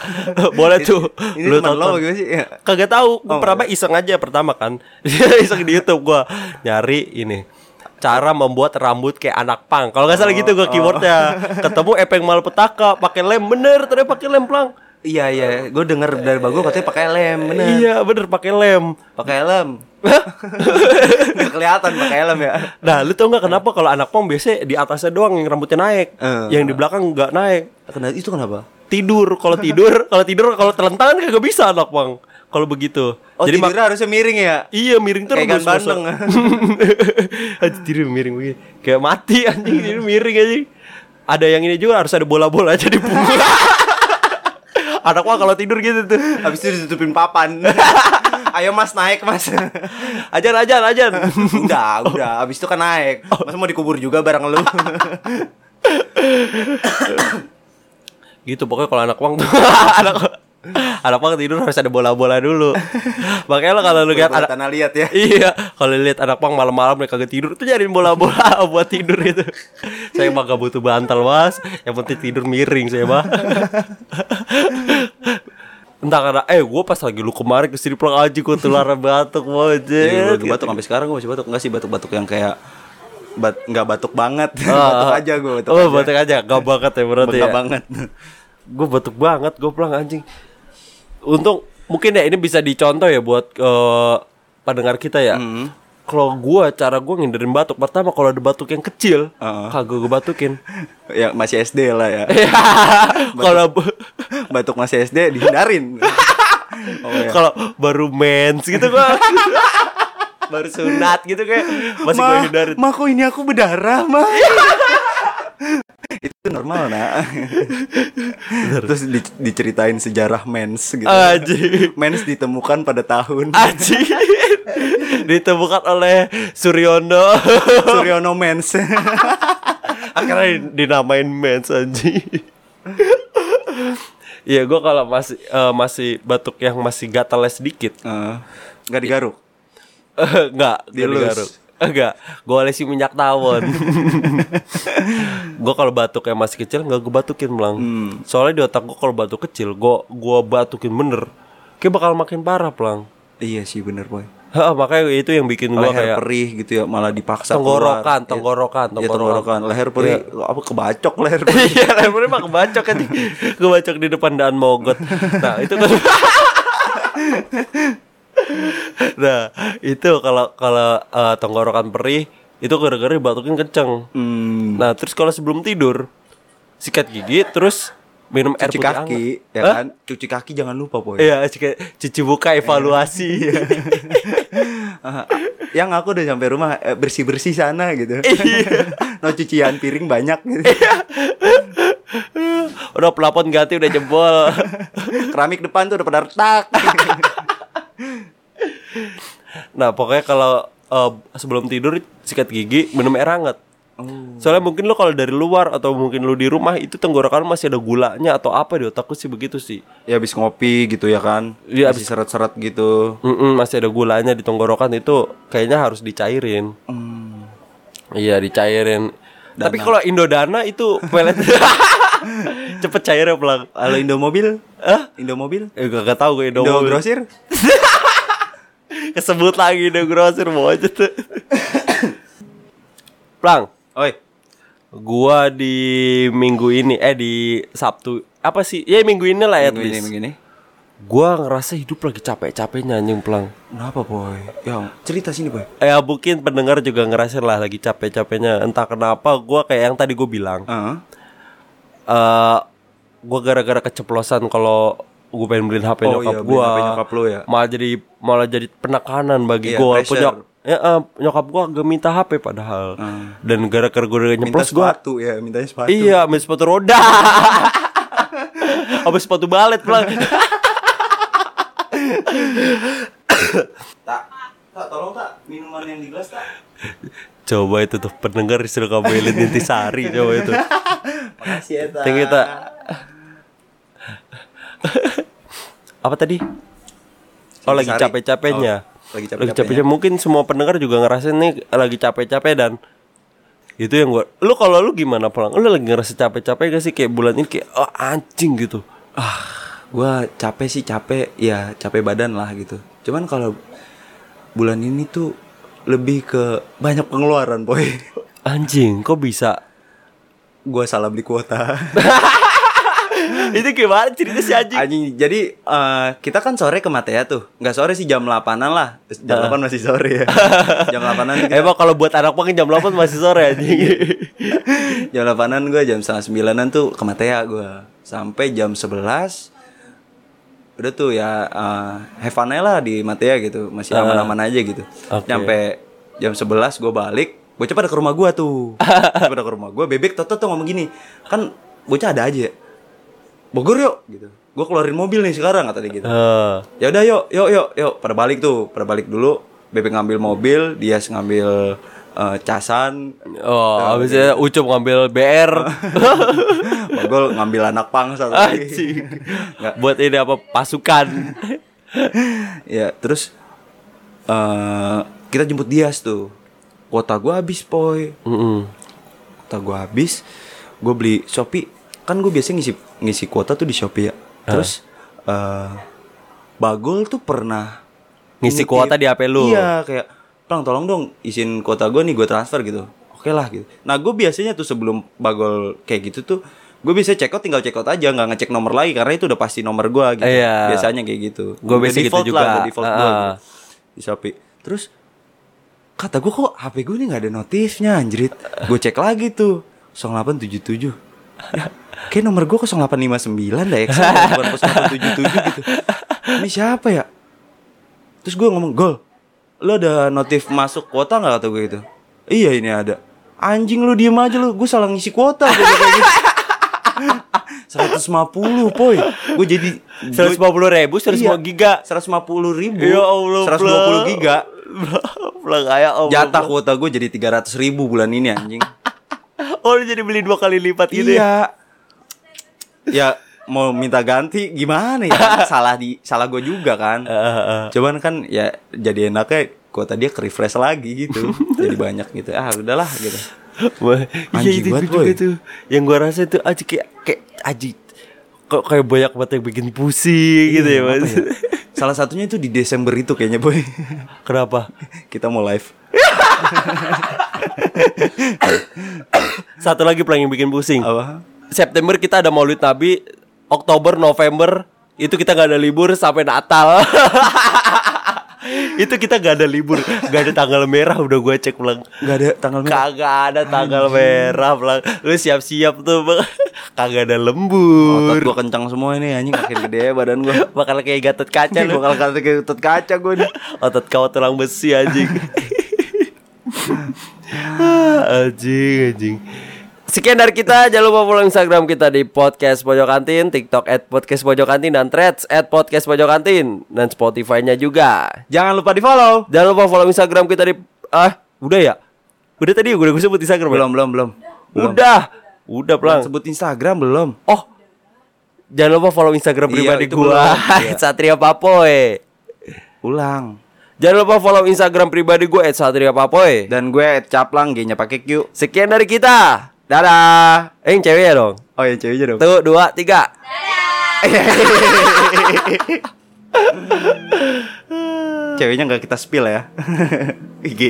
Speaker 1: boleh tuh.
Speaker 2: ini teman lo iya. gimana sih Ya.
Speaker 1: Kagak tahu, gua pertama iseng aja pertama kan. *laughs* iseng di YouTube gua nyari ini cara membuat rambut kayak anak pang. Kalau nggak
Speaker 2: Oh,
Speaker 1: salah gitu gua keywordnya. Ketemu Epeng Malapetaka pakai lem bener, ternyata pakai lem pelang.
Speaker 2: iya iya gue denger dari bagus katanya pakai lem bener
Speaker 1: Iya, bener pakai lem.
Speaker 2: Iya. pakai lem *laughs* nggak kelihatan pakai lem ya
Speaker 1: Nah, lu tau nggak kenapa kalau anak pang biasanya di atasnya doang yang rambutnya naik,
Speaker 2: Eh.
Speaker 1: yang di belakang nggak naik.
Speaker 2: Kena- itu kenapa
Speaker 1: Tidur, kalau
Speaker 2: *laughs*
Speaker 1: tidur, kalau tidur kalau telentang kan kagak bisa anak pang. Kalau begitu.
Speaker 2: oh
Speaker 1: Jadi
Speaker 2: Jadi
Speaker 1: mak-
Speaker 2: tidurnya harusnya miring ya
Speaker 1: Iya miring terus
Speaker 2: Kayak ah. ikan
Speaker 1: bos-bos.
Speaker 2: bandeng.
Speaker 1: *laughs* Aja tidur miring begini Kayak mati anjing tidur miring anjing Ada yang ini juga harus ada bola-bola aja di punggung *laughs* Anak mah kalau tidur gitu tuh
Speaker 2: habis itu ditutupin
Speaker 1: *laughs*
Speaker 2: papan ayo mas naik mas
Speaker 1: Ajan ajan ajan
Speaker 2: udah udah habis itu kan naik
Speaker 1: Oh.
Speaker 2: mas mau dikubur juga bareng lu
Speaker 1: Gitu pokoknya kalau anak wang tuh *laughs* Anak Anak wang tidur harus ada bola-bola
Speaker 2: *laughs*
Speaker 1: dulu Makanya lo kalau lu lihat anak
Speaker 2: tanah liat ya
Speaker 1: *laughs* Iya, kalau lihat anak pang malam-malam mereka kagak tidur tuh nyariin bola-bola *laughs* buat tidur itu. Saya mah gak butuh bantal, Mas. Yang penting tidur miring saya *laughs* mah. Entah karena eh gue pas lagi lu kemarin ke sini pulang aja gue tular batuk
Speaker 2: Iya,
Speaker 1: banget.
Speaker 2: lagi batuk sampai sekarang gue masih batuk enggak sih batuk-batuk yang kayak bat nggak batuk
Speaker 1: *laughs*
Speaker 2: banget batuk
Speaker 1: Ah,
Speaker 2: aja gue batuk
Speaker 1: Oh,
Speaker 2: aja.
Speaker 1: batuk aja. Gak banget ya berarti
Speaker 2: Bengkak
Speaker 1: ya.
Speaker 2: banget *laughs*
Speaker 1: Gue batuk banget, gue pulang anjing. Untung mungkin ya ini bisa dicontoh ya buat eh, pendengar kita ya. Kalau gue cara gue ngindarin batuk pertama kalau ada batuk yang kecil,
Speaker 2: Heeh.
Speaker 1: kagak gue *laughs* batukin. Iya.
Speaker 2: ya masih SD lah
Speaker 1: *laughs*
Speaker 2: ya
Speaker 1: Kalau bu-
Speaker 2: batuk masih SD
Speaker 1: *laughs*
Speaker 2: dihindarin oh, iya.
Speaker 1: kalau baru mens gitu gua *laughs* baru sunat gitu kayak masih gue hindarin.
Speaker 2: ma kok ini aku berdarah
Speaker 1: *laughs*
Speaker 2: ma itu normal nak terus di- diceritain sejarah mens gitu
Speaker 1: Aji.
Speaker 2: mens ditemukan pada tahun
Speaker 1: Aji *laughs* ditemukan oleh Suryono
Speaker 2: Suryono
Speaker 1: *laughs*
Speaker 2: mens Eh,
Speaker 1: akhirnya dinamain mens anji Iya gua kalau masih eh, masih batuk yang masih gatalnya sedikit *laughs*
Speaker 2: Eh, nggak digaruk
Speaker 1: Eh, Enggak, gak
Speaker 2: Dilus.
Speaker 1: digaruk. Enggak, gue olesi minyak tawon. gue kalau batuk yang masih kecil enggak gue batukin melang. Soalnya di otak gue kalau batuk kecil, gue gua batukin bener. Kayak bakal makin parah pelang.
Speaker 2: iya sih bener boy
Speaker 1: Heeh, makanya itu yang bikin gue
Speaker 2: leher
Speaker 1: kayak
Speaker 2: perih gitu ya malah dipaksa
Speaker 1: Tenggorokan,
Speaker 2: keluar.
Speaker 1: tenggorokan, Iya.
Speaker 2: Iya,
Speaker 1: tenggorokan.
Speaker 2: tenggorokan. leher perih apa kebacok
Speaker 1: *laughs*
Speaker 2: leher perih
Speaker 1: Iya, lehernya mah kebacok kan Kebacok di depan daan mogot Nah, itu kan Nah, itu kalau kalau eh, tenggorokan perih Itu gara-gara dibatukin kenceng
Speaker 2: hmm,
Speaker 1: Nah, terus kalau sebelum tidur sikat gigi terus minum air
Speaker 2: cuci
Speaker 1: putih
Speaker 2: kaki
Speaker 1: hangat.
Speaker 2: ya
Speaker 1: Hah?
Speaker 2: kan cuci kaki jangan lupa boy
Speaker 1: Iya, cuci- cuci muka evaluasi.
Speaker 2: *laughs* Iya. Ah, yang aku udah sampai rumah bersih bersih sana
Speaker 1: *laughs*
Speaker 2: gitu
Speaker 1: Iya.
Speaker 2: *laughs* no cucian piring banyak gitu.
Speaker 1: *laughs* udah pelapon ganti udah jebol.
Speaker 2: *laughs* keramik depan tuh udah pada retak
Speaker 1: nah, pokoknya kalau eh, sebelum tidur sikat gigi, minum air hangat. Soalnya mungkin lo kalau dari luar atau mungkin lo di rumah itu tenggorokan lu masih ada gulanya atau apa di otakku sih begitu sih.
Speaker 2: ya habis ngopi gitu ya kan
Speaker 1: Iya,
Speaker 2: Masih seret seret gitu
Speaker 1: Mm-mm, masih ada gulanya di tenggorokan itu kayaknya harus dicairin. Iya dicairin. Tapi kalau Indodana itu pelet cepet cair ya pelang.
Speaker 2: kalau Indomobil
Speaker 1: Hah?
Speaker 2: Indomobil
Speaker 1: Eh gak, gak tau gue Indo,
Speaker 2: Indo grosir
Speaker 1: Kesebut lagi Indo grosir mau aja tuh. Plang,
Speaker 2: oi
Speaker 1: gua di minggu ini eh di Sabtu apa sih? Ya minggu ini lah at
Speaker 2: begini
Speaker 1: least.
Speaker 2: begini
Speaker 1: Gua ngerasa hidup lagi capek-capeknya anjing pelang.
Speaker 2: kenapa boy ya cerita sini boy
Speaker 1: Ya mungkin pendengar juga ngerasain lah lagi capek-capeknya Entah kenapa gue kayak yang tadi gue bilang
Speaker 2: Ah.
Speaker 1: eh gue gara-gara keceplosan kalau gue pengen beliin HP nyokap
Speaker 2: Oh, iya, beliin
Speaker 1: gue
Speaker 2: HP nyokap lu ya.
Speaker 1: malah jadi malah jadi penekanan bagi
Speaker 2: Iya,
Speaker 1: gue
Speaker 2: pressure.
Speaker 1: nyok ya, eh, nyokap gue gak minta HP padahal dan gara-gara gue
Speaker 2: Hmm. Minta
Speaker 1: nyeplos gue
Speaker 2: sepatu ya, mintanya sepatu.
Speaker 1: iya main sepatu roda *laughs* apa sepatu balet
Speaker 2: *laughs*
Speaker 1: pulang
Speaker 2: Tak, tak tolong tak minuman yang di gelas tak.
Speaker 1: coba itu tuh pendengar istri kamu elit intisari coba itu
Speaker 2: Makasih ya tak.
Speaker 1: Thank you, Tak. *laughs* apa tadi oh lagi
Speaker 2: Intisari.
Speaker 1: capek-capeknya
Speaker 2: Oh, lagi
Speaker 1: lagi capeknya
Speaker 2: capek-capeknya.
Speaker 1: mungkin semua pendengar juga ngerasain nih lagi capek-capek dan itu yang gua lu kalau lu gimana pulang lu lagi ngerasa capek-capek gak sih kayak bulan ini kayak oh, anjing gitu
Speaker 2: Gua capek sih capek, ya capek badan lah gitu. Cuman kalau bulan ini tuh lebih ke banyak pengeluaran, boy. *laughs*
Speaker 1: anjing kok bisa
Speaker 2: Gua salah beli kuota.
Speaker 1: *laughs* itu gimana cerita si anjing
Speaker 2: Anjing, jadi eh, kita kan sore ke Matea tuh. Nggak sore sih jam 8-an lah. Jam 8 masih *laughs* sore ya. jam 8-an kita-
Speaker 1: Emang kalau buat anak mungkin jam 8 masih sore
Speaker 2: *laughs*
Speaker 1: anjing.
Speaker 2: jam 8-an gue jam setengah sembilanan tuh ke Matea gue sampai jam 11 udah tuh ya eh, have fun aja lah di Matea gitu masih aman-aman aja gitu
Speaker 1: Oke.
Speaker 2: nyampe jam 11 gue balik bocah pada ke rumah gue tuh bocah pada ke rumah gue bebek toto tuh ngomong gini kan bocah ada aja Bogor yuk gitu gue keluarin mobil nih sekarang kata dia gitu
Speaker 1: Eh,
Speaker 2: ya udah yuk yuk yuk yuk pada balik tuh pada balik dulu bebek ngambil mobil dia ngambil eh, casan
Speaker 1: oh, habisnya Ucup ngambil BR.
Speaker 2: *laughs* Bagol ngambil anak pang satu lagi.
Speaker 1: anjing. buat ini apa pasukan.
Speaker 2: ya, terus eh kita jemput Dias tuh. Kuota gua habis, Poy.
Speaker 1: Mm-mm.
Speaker 2: Kuota gua habis. Gue beli Shopee. Kan gue biasanya ngisi ngisi kuota tuh di Shopee ya. Terus eh Bagol tuh pernah
Speaker 1: Ngisi
Speaker 2: nitip-
Speaker 1: kuota di HP lu?
Speaker 2: Iya, kayak Plang tolong dong isin kuota gua nih gue transfer gitu. Oke lah gitu. Nah gue biasanya tuh sebelum bagol kayak gitu tuh gue bisa check out tinggal check out aja nggak ngecek nomor lagi karena itu udah pasti nomor gua gitu.
Speaker 1: Iya.
Speaker 2: Biasanya kayak gitu.
Speaker 1: Gua
Speaker 2: Udah
Speaker 1: biasa gitu
Speaker 2: default Lah,
Speaker 1: juga.
Speaker 2: udah default gua
Speaker 1: Ah.
Speaker 2: gitu. Di Shopee. Terus kata gue kok HP gue nih nggak ada notifnya anjrit. Gue cek lagi tuh 0877. Ya, kayak nomor gue 0859 dah ya. Bukan 0877 gitu. Ini siapa ya? Terus gue ngomong, Gol, lo ada notif masuk kuota gak kata gue gitu? Iya ini ada. Anjing lu diem aja lu, gue salah ngisi kuota. Gue kayak
Speaker 1: *laughs*
Speaker 2: gitu. 150 poy Gue jadi
Speaker 1: 150 ribu,
Speaker 2: Iya.
Speaker 1: 150 giga.
Speaker 2: 150 ribu
Speaker 1: Ya Allah,
Speaker 2: 120 giga
Speaker 1: Pulang kayak Allah.
Speaker 2: Jatah kuota gue jadi 300 ribu bulan ini anjing
Speaker 1: Oh, lu jadi beli dua kali lipat gitu ya.
Speaker 2: Iya Ya mau minta ganti gimana ya Salah di salah gue juga kan
Speaker 1: Eh.
Speaker 2: Cuman kan ya jadi enaknya kuota dia ke refresh lagi gitu Jadi banyak gitu Ah udahlah gitu
Speaker 1: Wah, iya
Speaker 2: Anjing
Speaker 1: itu
Speaker 2: banget,
Speaker 1: juga
Speaker 2: boy.
Speaker 1: tuh. Yang gua rasa itu aji kayak kayak aji kok kayak banyak banget yang bikin pusing gitu ya,
Speaker 2: Apa
Speaker 1: Mas.
Speaker 2: ya? Salah satunya itu di Desember itu kayaknya boy
Speaker 1: Kenapa?
Speaker 2: *laughs* Kita mau live
Speaker 1: Satu lagi paling yang bikin pusing.
Speaker 2: Apa?
Speaker 1: September kita ada Maulid Nabi, Oktober, November itu kita gak ada libur sampai Natal. *laughs* itu kita gak ada libur, gak ada tanggal merah udah gue cek pulang.
Speaker 2: Gak ada tanggal merah
Speaker 1: Kagak ada tanggal merah pulang. Lu siap-siap tuh, Bang. *laughs* kagak ada
Speaker 2: Otot
Speaker 1: lembur.
Speaker 2: gue kencang semua ini anjing makin gede ya badan gue
Speaker 1: *laughs* Bakal kayak gatot kaca
Speaker 2: Gue
Speaker 1: lu.
Speaker 2: bakal kata kayak utot kaca gue nih
Speaker 1: Otot kau tulang besi anjing. Ah, *laughs* anjing, anjing. Sekian dari kita, jangan lupa follow Instagram kita di Podcast Pojok Kantin, TikTok at Podcast Pojok Kantin, dan Threads at Podcast Pojok Kantin, dan Spotify-nya juga.
Speaker 2: Jangan lupa di follow
Speaker 1: Jangan lupa follow Instagram kita di... Ah, udah ya? Udah tadi, udah gue sebut Instagram ya?
Speaker 2: Belum belum belum
Speaker 1: Udah, udah
Speaker 2: Belum
Speaker 1: pelang.
Speaker 2: sebut Instagram belum
Speaker 1: Oh, jangan lupa follow Instagram
Speaker 2: Iya,
Speaker 1: pribadi
Speaker 2: itu
Speaker 1: gua,
Speaker 2: belum. Iya.
Speaker 1: *laughs* Satria Papoy.
Speaker 2: Ulang
Speaker 1: Jangan lupa follow Instagram pribadi gue @satriapapoy.
Speaker 2: Dan gue Ed Caplang G-nya pakai Q
Speaker 1: Sekian dari kita. Dadah. Eh, yang cewek ya dong.
Speaker 2: Oh ya cewek aja dong
Speaker 1: Satu, dua, tiga.
Speaker 2: *laughs* Ceweknya gak kita spill ya IG